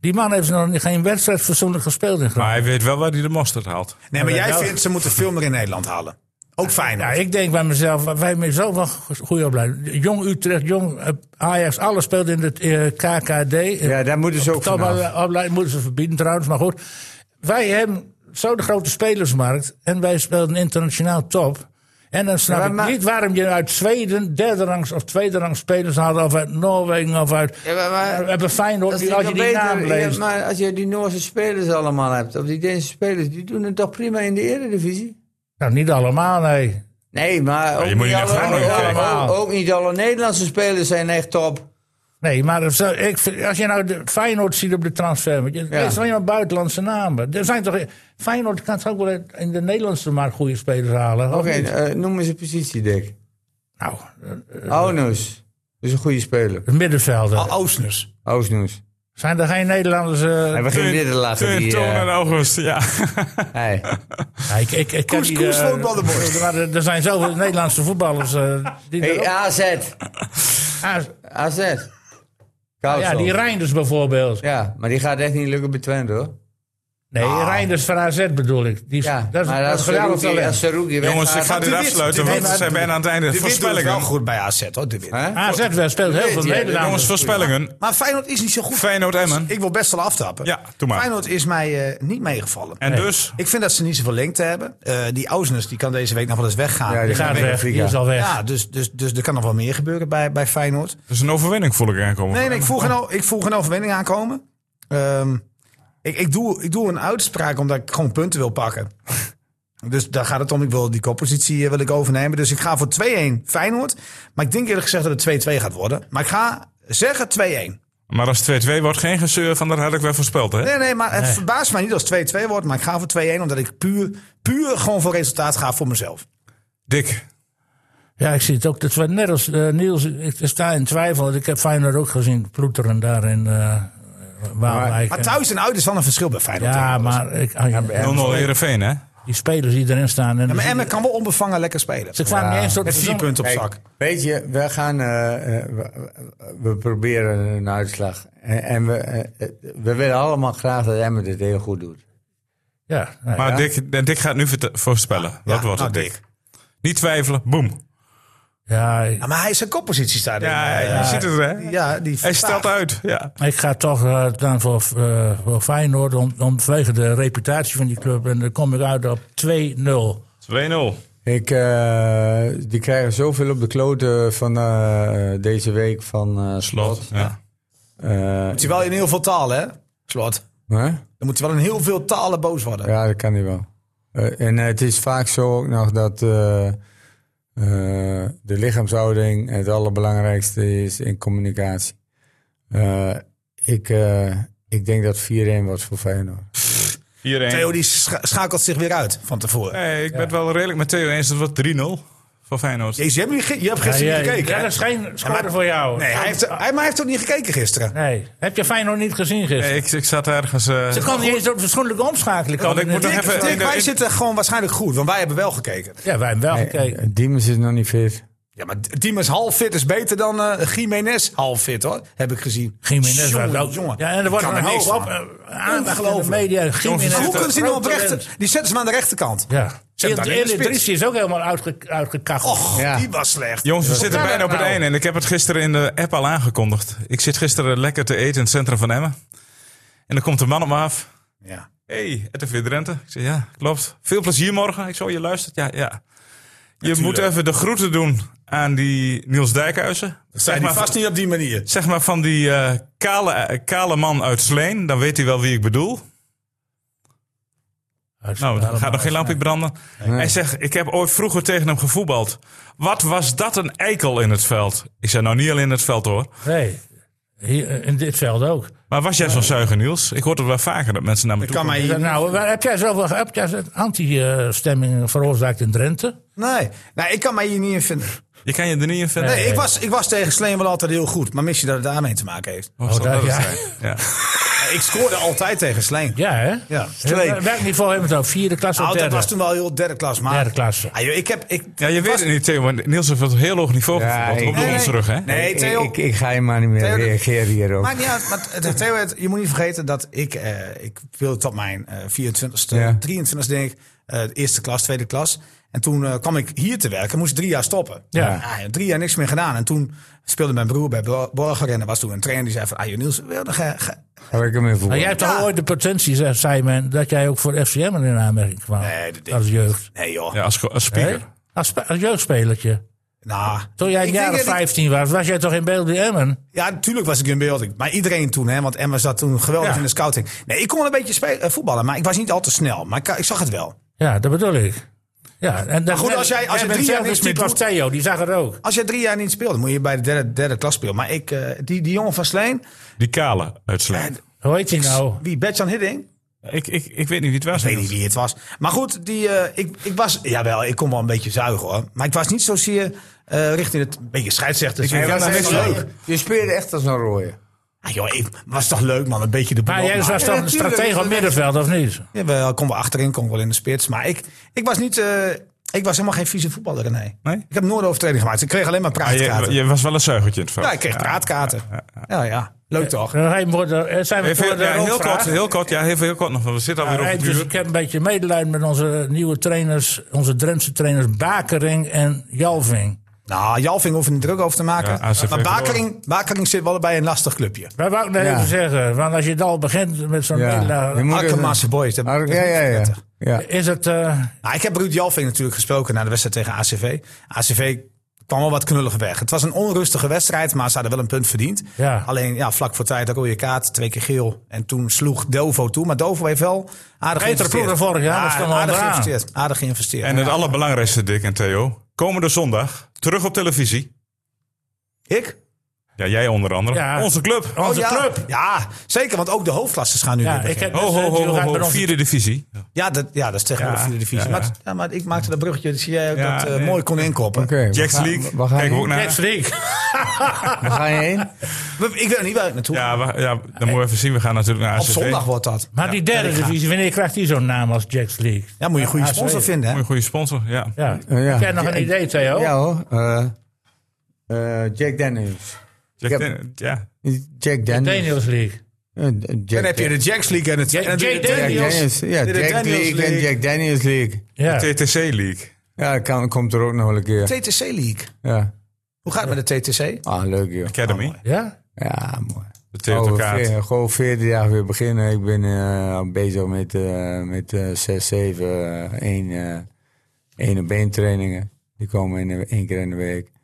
Die man heeft nog niet- geen wedstrijd fatsoenlijk gespeeld in
Maar
Groningen.
hij weet wel waar hij de mosterd haalt.
Nee, maar
Ja,
jij
nou-
vindt ze moeten veel meer in Nederland halen. Ook fijn.
Ja, ik denk bij mezelf, wij hebben zoveel goede opleiding. Jong Utrecht, Jong eh, Ajax, alles speelt in het eh, KKD.
Ja, daar moeten ze ook
Toch wel,
vanaf.
eh, opleiding moeten ze verbieden trouwens, maar goed. Wij hebben zo de grote spelersmarkt en wij spelen internationaal top. En dan snap
Ja,
ik
maar-
niet waarom je uit Zweden derde rangs of tweede rangs spelers haalt, of uit Noorwegen of uit.
Ja, maar- maar-
we hebben Feyenoord,
Dat is
die- als je
toch
die naam
beter,
leest.
ja, maar als je die Noorse spelers allemaal hebt, of die Deense spelers, die doen het toch prima in de Eredivisie?
Nou, niet allemaal, nee.
Nee, maar ook,
je moet
niet
niet naar
alle,
Groningen
ook-
kijken.
ook- ook niet alle Nederlandse spelers zijn echt top.
Nee, maar dat zou- ik, vind- als je nou de Feyenoord ziet op de transfer, je
Ja.
leest alleen maar buitenlandse namen. Er zijn toch, Feyenoord kan toch ook wel in de Nederlandse markt goede spelers halen. of
Oké,
niet?
eh, noem eens een positie, Dick.
Nou,
Eh,
Ounus is een goede speler.
een middenvelder.
Oosners.
Ousnoes.
Zijn er geen Nederlanders? eh,
Hij begint dit te laten.
Teun,
Die,
Toon
eh,
en August, ja.
hij.
Ja, ik, ik, ik ken
Koes-
die,
Koes
eh,
voetbalde mooi.
maar er er zijn zoveel Nederlandse voetballers. eh, die er
Hey, Oh,
ook-
AZ.
Ah,
AZ.
ja,
Koudsel.
die Reinders bijvoorbeeld. Dus
Ja, maar die gaat echt niet lukken bij Twente, hoor.
Nee, Reinders van AZ bedoel ik. Die,
Ah. Ja,
dat is
maar
dat
als
is geweldig
Saruki- als
talent.
Saruki
Jongens, ik
weggaat-
ga dit
de
afsluiten,
wit- de
want we
wit-
zijn bijna aan het einde.
De Wit doet het wel
Voorspellingen.
goed bij AZ, hoor, de Wit.
Hè?
AZ wel speelt heel veel
Weet je,
Nederlanders.
Jongens, voorspellingen.
Maar Feyenoord is niet zo goed.
Feyenoord Emmen.
Ik wil best wel aftappen.
Ja, doe maar.
Feyenoord is mij eh, niet meegevallen.
En dus?
Ik vind dat ze niet zoveel lengte hebben. Eh, die Ousnes die kan deze week nog wel eens weggaan.
Ja, die
Dus-
Die gaat weg, die is al weg.
ja, dus, dus, dus er kan nog wel meer gebeuren bij, bij Feyenoord.
Dus een overwinning voel ik aankomen.
Nee, nee ik, voel geen, o- ik voel geen overwinning aankomen. Ehm, ik, ik, doe, ik doe een uitspraak omdat ik gewoon punten wil pakken. Dus daar gaat het om. Ik wil die koppositie eh, wil ik overnemen. Dus ik ga voor 2-1 Feyenoord. Maar ik denk eerlijk gezegd dat het 2-2 gaat worden. Maar ik ga zeggen 2-1.
Maar als 2-2 wordt geen gezeur van, dat had ik wel voorspeld, hè?
Nee, nee, maar het verbaast mij niet als 2-2 wordt. Maar ik ga voor 2-1 omdat ik puur, puur gewoon voor resultaat ga voor mezelf.
Dick.
Ja, ik zie het ook. Dat was net als eh, Niels, ik sta in twijfel. want Ik heb Feyenoord ook gezien ploeteren daar in eh Waalwijk.
Maar thuis en uit is wel een verschil bij Feyenoord.
Ja,
tegenwoordig.
maar ik, ah, ja,
0-0 Heerenveen, hè?
die spelers die erin staan. En
Ja, maar
die-
Emmen kan wel onbevangen lekker spelen.
ze kwamen niet eens tot de
Met vier
verzoening.
punten op
Kijk,
zak.
Weet je, we gaan. eh, eh, we, we proberen een uitslag. En, en we, eh, eh, we willen allemaal graag dat Emmen dit heel goed doet.
Ja, nou,
Maar
ja.
Dick, Dick gaat nu verte- voorspellen. dat wordt
nou,
het, Dick. Niet twijfelen, boem.
Ja,
Ja, Nou, maar hij is zijn koppositie staat in.
Ja,
eh,
je ziet het, hè?
Ja, die
Hij stelt uit, ja.
ik ga toch eh, dan voor, eh, voor Feyenoord, om, omwege de reputatie van die club. En dan kom ik uit op 2-0.
2-0.
Ik, eh, die krijgen zoveel op de kloten van eh, deze week van eh, Slot.
Lot, ja.
Eh,
Moet hij wel in heel veel talen, hè? Slot.
hè?
Dan moet hij wel in heel veel talen boos worden.
Ja, dat kan hij wel. Eh, en het is vaak zo ook nog dat eh, eh, de lichaamshouding het allerbelangrijkste is in communicatie. Eh, ik, eh, ik denk dat 4-1 was voor Feyenoord.
4-1.
Theo die scha- schakelt zich weer uit van tevoren.
Nee, ik ben het wel redelijk met Theo eens. Dat wordt 3-0 voor Feyenoord.
Jezus, je hebt, niet ge- je hebt
Ja,
gisteren
ja,
niet gekeken,
ja,
hè?
dat Ah. is geen score voor jou.
Nee, hij heeft, hij, maar hij heeft ook niet gekeken gisteren.
Nee. Heb je Feyenoord niet gezien gisteren?
Nee, ik, ik zat ergens... eh,
Ze kan niet eens op verschillende omschakelen.
Want
komen
ik moet nog
in-
even-
Dick,
in de-
wij
in-
zitten gewoon waarschijnlijk goed, want wij hebben wel gekeken.
Ja, wij hebben wel
Eh,
gekeken.
Diemers is nog niet fit.
Ja, maar Diemers half fit is beter dan eh Jiménez half fit, hoor. Heb ik gezien.
Jiménez
Jongen,
was ook.
jongen.
Ja, en er wordt
Ik kan
een
er niks
hoop op.
van.
eh, Aandacht in de media. Jiménez.
Maar hoe kunnen ze die nou op
groot
rechter?
talent.
Die zetten ze maar aan de rechterkant.
Ja.
Ze hebben daar in de
Elie
spits.
Drissi is ook helemaal uitge, uitgekacheld.
Och,
Ja.
die was slecht.
Jongens, we zitten
kan
bijna
dat
op het
nou?
einde. En ik heb het gisteren in de app al aangekondigd. Ik zit gisteren lekker te eten in het centrum van Emmen. En dan komt een man op me af.
Ja.
Hé, hey, RTV Drenthe. Ik zeg, ja, klopt. Veel plezier morgen. Ik zo, je luistert. Ja, ja. Je moet even de groeten doen aan die Niels Dijkhuizen. Zeg
Zijn die
maar,
vast niet op die manier.
zeg maar van die eh, kale, eh, kale man uit Sleen. Dan weet hij wel wie ik bedoel. Nou, dan gaat nog geen lampje branden. Hij zegt, ik heb ooit vroeger tegen hem gevoetbald. Wat was dat een eikel in het veld? Ik zei, nou niet alleen in het veld hoor.
Nee. Hier, eh, in dit veld ook.
Maar was jij zo'n zuiger, Niels? Ik hoor het wel vaker dat mensen naar me
Ik
toe
kan mij
komen.
hier
Nou, waar heb jij zoveel heb jij zo'n anti-stemming veroorzaakt in Drenthe?
Oh,
Nee, nee, ik kan mij hier niet in vinden.
Je kan je er niet in vinden.
Nee, ik, was, ik was tegen Sleen wel altijd heel goed. Maar misschien dat het daarmee te maken heeft.
Oh, zal
Oh, daar-
dat het
ja.
zijn? ja.
Ja, Ik scoorde altijd tegen Sleen.
Ja, hè?
Ja.
Welk niveau hebben we het over? Vierde klasse of
Nou, dat
derde?
was toen wel heel derde klas. Maar
Derde klasse.
Ah, joh, ik heb, ik,
Ja, je weet het niet, Theo. Maar Niels heeft op een heel hoog niveau
Ja,
gevoetbald.
ik-
Op de
Nee,
ons terug, hè?
Nee,
Ik-
Theo.
Ik, ik, ga je maar niet meer
Theo, dat-
reageren hierop.
Maakt niet uit. Maar t- Theo, het- je moet niet vergeten dat ik, eh, ik wilde tot mijn eh, 24ste,
Ja.
23ste denk ik, eh, eerste klas, tweede klas. En toen eh, kwam ik hier te werken, moest drie jaar stoppen.
Ja.
Ah, ja, drie jaar niks meer gedaan. En toen speelde mijn broer bij Bor- Borger en er was toen een trainer die zei van, ah joh, Niels, wil je nog, eh, ge-
Ga ik hem even
Maar
voor.
jij hebt toch
Ja.
ooit de potentie, zei- zei men, dat jij ook voor FCM in aanmerking kwam?
Nee, dat denk
Als jeugd.
nee joh.
Ja, als, als
Hè?
speaker.
Als, spe- als jeugdspelertje.
Nou,
Toen jij een
ik
jaar
denk
of
dat ik-
15 was, was jij toch in beeld bij Emmen?
Ja, natuurlijk was ik in beeld. Maar iedereen toen, hè, want Emma zat toen geweldig
Ja.
in de scouting. Nee, ik kon wel een beetje spe- eh, voetballen, maar ik was niet al te snel. Maar ik, ik zag het wel.
Ja, dat bedoel ik. Ja, en dat,
goed, als jij- als je
bent
drie jaar
zelf een
niks meer
type als Theo, die zag het ook.
Als je drie jaar niet speelde, moet je bij de derde, derde klas spelen. Maar ik, eh, die, die jongen van Sleen,
Die kale uit Sleen.
Hoe heet hij nou?
wie Bertjan Hidding,
Ik, ik, ik weet niet wie het
ik
was.
weet
Niels.
niet wie het was. Maar goed, die, eh, ik, ik was, jawel, ik kon wel een beetje zuigen hoor. Maar ik was niet zozeer eh, richting het, een beetje scheidsrechter. Ik
ken dat niet zo.
Je speelde echt als een rooie.
Ah, joh, ik, was toch leuk man, een beetje de boel
Maar jij
opmaken.
was dan stratege op middenveld, of niet?
Ja, wel, kom wel achterin, kom wel in de spits. Maar ik, ik was niet. eh, ik was helemaal geen vieze voetballer, nee.
Nee?
Ik heb nooit overtreding gemaakt. Ik kreeg alleen maar
Ah,
praatkaarten.
je, je was wel een zuigertje in het veld.
ja, ik kreeg praatkaarten. Ja, ja. Leuk toch?
Dan ga je voor de, eh, zijn we voor
Even,
de
ja, heel
roodvraag.
kort, heel kort. Ja, even heel kort nog. want We zitten alweer
Ja,
op het
dus
uur.
ik heb een beetje medelijden met onze nieuwe trainers, onze Drentse trainers Bakering en Jalving.
Nou, Jalving hoeft er niet druk over te
Ja,
maken.
ACV
maar Bakering, Bakering zit wel bij een lastig clubje.
Daar wou ik nou
Ja.
even zeggen, want als je het al begint met zo'n
Ja.
nederlaag,
Je moet-
Akkemaanse boys. Dat,
Ah,
dat is
ja,
niet
ja, ja.
prettig.
ja.
is het... eh,
Nou, ik heb Ruud Jalving natuurlijk gesproken na de wedstrijd tegen ACV. ACV kwam wel wat knullig weg. Het was een onrustige wedstrijd, maar ze hadden wel een punt verdiend.
Ja.
Alleen ja, vlak voor tijd, rode kaart, twee keer geel. En toen sloeg Dovo toe. Maar Dovo heeft wel aardig
Betere ploeg dan
geïnvesteerd.
vorig jaar, dat stond wel
aardig
onderaan.
geïnvesteerd. Aardig geïnvesteerd.
En het allerbelangrijkste, Dick en Theo. Komende zondag, terug op televisie.
ik? Oh,
Ja, jij onder andere.
Ja.
Onze club.
onze
ja.
club.
Ja, zeker, want ook de hoofdklassen gaan nu
Ja,
weer
ik
beginnen.
heb
Oh, Ho, ho, ho,
Jullie gaan
ho,
met
ho.
onze-
Vierde divisie.
Ja, dat, ja, dat is tegenwoordig
Ja,
vierde divisie.
ja,
Maar,
ja.
het- ja, maar ik maakte dat bruggetje, dat zie jij ook
Ja,
dat eh,
nee.
mooi kon inkoppen.
Oké, we
Jacks
gaan-
League.
we gaan
Kijken we
heen.
ook naar.
Next week.
We gaan heen.
Maar Ik weet niet waar ik naartoe ga.
Ja, we- ja, dan moeten we even zien. We gaan natuurlijk naar
Op
ACV.
zondag wordt dat.
Maar die derde divisie, wanneer krijgt die zo'n naam als Jacks League?
Ja, moet je een goede
Ja,
sponsor
zeker.
vinden, hè?
Mooie goede sponsor, ja.
Ja.
Eh, ja.
Heb jij nog een idee, Theo?
Ja hoor. Eh, eh, Jack Daniels.
Jack
Ja.
Den- ja.
Jack Daniels.
Daniels League.
Eh, Jack
Dan heb je de Jacks League en het...
Ja,
en het-
Jay
het-
Jack
Daniels.
Daniels. Ja,
De
Jack
Daniels
League en
League.
Jack Daniels League.
Ja.
De TTC League.
Ja, kan, komt er ook nog wel een keer.
TTC League.
Ja.
Hoe gaat het met de TTC?
Ah, leuk joh.
Academy.
ja?
Ja, mooi.
De Theo Kaart.
veer- gewoon 14 jaar weer beginnen. Ik ben eh, al bezig met, eh, met eh 6, 7, eh, 1, eh 1 op 1 trainingen. Die komen in, de- één keer in de week.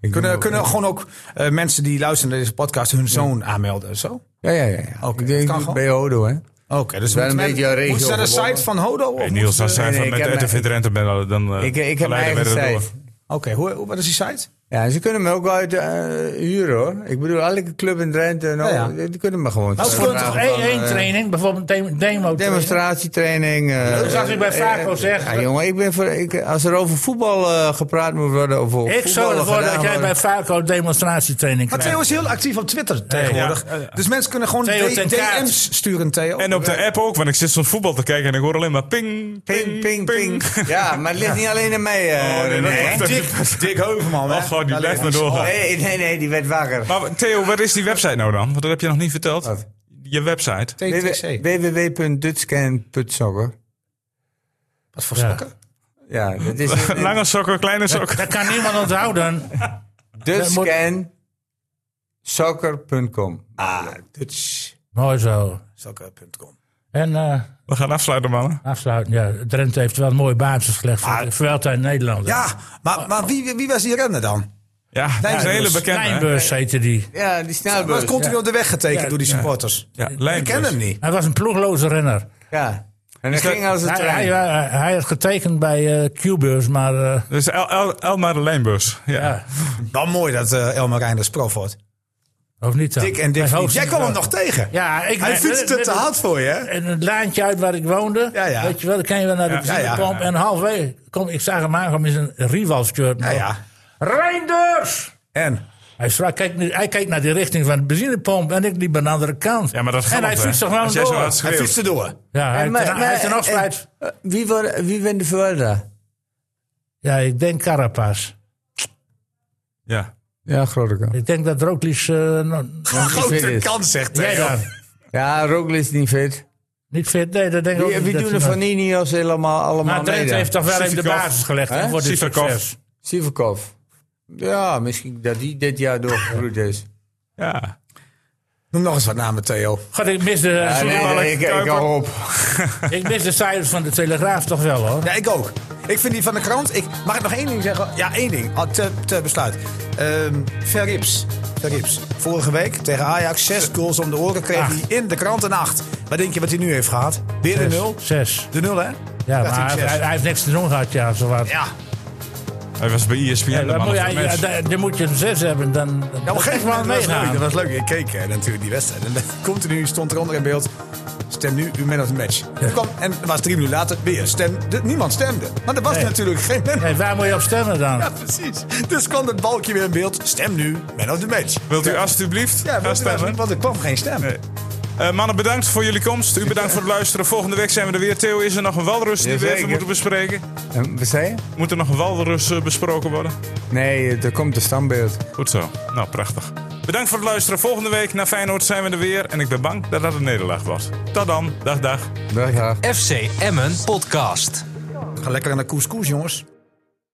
Ik
Kunnen,
doe-
kunnen gewoon ook eh, mensen die luisteren naar deze podcast hun zoon aanmelden en zo? Oké,
Ja, ja, ja. ja.
Oké, dat kan
ik denk ik doe het
gewoon.
bij Odo, hè.
dus
Wel een
moeten men-
beetje regio
moeten ze naar de
gebonden.
site van Hodo? of
Hey,
moeten
Niels,
ze-
als zij
Nee, nee,
van
ik
met
heb mijn-
RTV Drenthe bent, dan eh,
Ik, ik heb mijn
geleiden wij
eigen
dat door.
site.
Oké, hoe- hoe- wat is die site?
Ja, ze kunnen me ook wel uit eh, huren, hoor. Ik bedoel, elke club in Drenthe, nou,
Ja,
die kunnen me gewoon...
Ook Nou, voor toch
vragen van,
één één
eh,
training, bijvoorbeeld een demo
Demonstratietraining. eh,
Dat zag ik bij
eh,
Vaco
eh,
zeggen.
Ja, jongen, ik ben voor, ik, als er over voetbal eh, gepraat moet worden. Of over
Ik
voetballen
zorg ervoor
gedaan
dat jij bij
wordt,
Vaco demonstratietraining
Maar
krijgt.
Theo is heel actief op Twitter tegenwoordig. Dus mensen kunnen gewoon
Theo
D-
ten Kaat.
DM's sturen, Theo.
En op de app ook, want ik zit soms voetbal te kijken en ik hoor alleen maar ping,
Ping, ping, ping. Ja, maar het ligt niet alleen aan mij. eh,
Oh,
nee, dat
René.
ligt aan-
Dick, Dick Heuvelman. hè?
Oh, gewoon, die
Daar
blijft maar
ligt hij.
nee,
doorgaan.
nee, nee, die werd wakker.
Maar Theo, wat is die website nou dan? Want dat heb je nog niet verteld.
Wat?
Je website.
TTC.
www.dutscan.soccer.
Wat voor sokken?
Ja, dat is een-
Lange sokken, kleine sokken.
Dat kan niemand onthouden.
dutscansoccer.com.
Ah, Dutch.
Mooi zo.
Sokken.com.
En eh,
We gaan afsluiten, mannen.
afsluiten. Ja, Drenthe heeft wel een mooie basis gelegd voor de Vuelta in Nederland.
Ja, maar, maar wie, wie was die renner dan?
Ja, dat is een hele bekende. hè?
Kleinbeurs heette die.
dus, Ja, die
Maar
snelbus.
het continu op de weg getekend
Ja.
door die supporters.
Ja,
Ik
Lijnbeurs.
ken hem niet.
Hij was een ploegloze renner.
Ja. En dat ging als een
Hij, hij,
trein.
hij, hij had getekend bij eh Q-beurs, maar eh,
Dus El, El, Elmar Lijnbeurs. Ja.
ja,
Wel mooi dat eh Elmer Reinders prof wordt.
of niet dan.
Dik en
Bij
dik.
Hoogst-
Jij kwam hem nog tegen.
Ja, ik
Hij fietste te hard voor je. hè?
En het laantje uit waar ik woonde,
Ja, ja.
weet je wel, dan kan je wel naar de
Ja,
ja, ja.
benzinepomp. En halfweg, kom, ik zag hem aankomen in zijn rival-shirt.
Ja, ja.
Reinders!
En?
Hij, strak, kijkt nu, hij kijkt naar die richting van de benzinepomp en ik liep aan de andere kant.
Ja, maar dat
en
geldt,
hij
hè?
fietst toch gewoon
Als jij zo
door.
hard
Hij
schreeuwt.
fietste door.
Ja, hij,
En maar-
heeft een- hij
maar-
heeft een afsluit.
en- eh, Wie, wordt- wie wint de Vuelta?
ja, ik denk Carapas.
Ja.
Ja, grote kans.
Ik denk dat Roglic... eh, nog-
Grote
is.
kans, zegt
jij
Theo.
dan?
Ja, Roglic is niet fit.
Niet fit? Nee, dat denk ik ook
Wie,
niet.
wie
dat
doen
hij
er
nog-
van Ineos helemaal allemaal
Maar Drenthe
mee
Nou, heeft
dan?
toch wel even de
Sivakov.
basis gelegd hè,
Hè?
voor dit
Sivakov.
succes.
Sivakov. Ja, misschien dat die dit jaar doorgegroeid is.
ja.
Noem nog eens wat namen, Theo.
God, ik mis de,
Ja, Ah, nee,
Sorry,
nee, ik, ik hou op.
ik mis de cijfers van de Telegraaf toch wel hoor.
Ja, ik ook. Ik vind die van de krant... Ik, mag ik nog één ding zeggen? Ja, één ding. Al te, te besluit. Ehm Verrips. Verrips. Vorige week tegen Ajax zes goals om de oren kreeg
Acht.
hij in de krant een acht. Wat denk je wat hij nu heeft gehad? Weer de nul?
Zes.
De nul, hè?
Ja,
Krijgt
maar
hij
hij,
zes.
hij- hij heeft niks te doen gehad, ja, zo wat.
Ja,
Hij was bij E ESPN.
Ja,
de
dan
man
moet
of
je,
de match.
ja, dan- dan moet je een zes hebben, dan,
Ja, op een gegeven moment was het leuk.
meegaan.
Dat was leuk. Ik keek eh, natuurlijk die wedstrijd. En continu stond eronder in beeld. Stem nu uw man of the match. Toen kwam, en het was drie minuten later weer. Stem, de- niemand stemde. Maar er was
Nee.
natuurlijk geen man.
Hey, waar moet je op stemmen dan?
Ja, precies. Dus kwam dat balkje weer in beeld. Stem nu, man of the match.
Wilt u alstublieft
Ja, want
gaan
er was
stemmen?
niet- want er kwam geen stem.
Nee. Eh, mannen, bedankt voor jullie komst. U bedankt voor het luisteren. Volgende week zijn we er weer. Theo, is er nog een walrus die we even
Jazeker.
moeten bespreken?
Eh, Wat zei je?
Moet er nog een walrus eh, besproken worden?
Nee, er komt een standbeeld.
Goed zo. Nou, prachtig. Bedankt voor het luisteren. Volgende week naar Feyenoord zijn we er weer. En ik ben bang dat dat een nederlaag was. Tot dan. Dag, dag.
Dag, dag.
FC Emmen Podcast.
Ga lekker aan de couscous, jongens.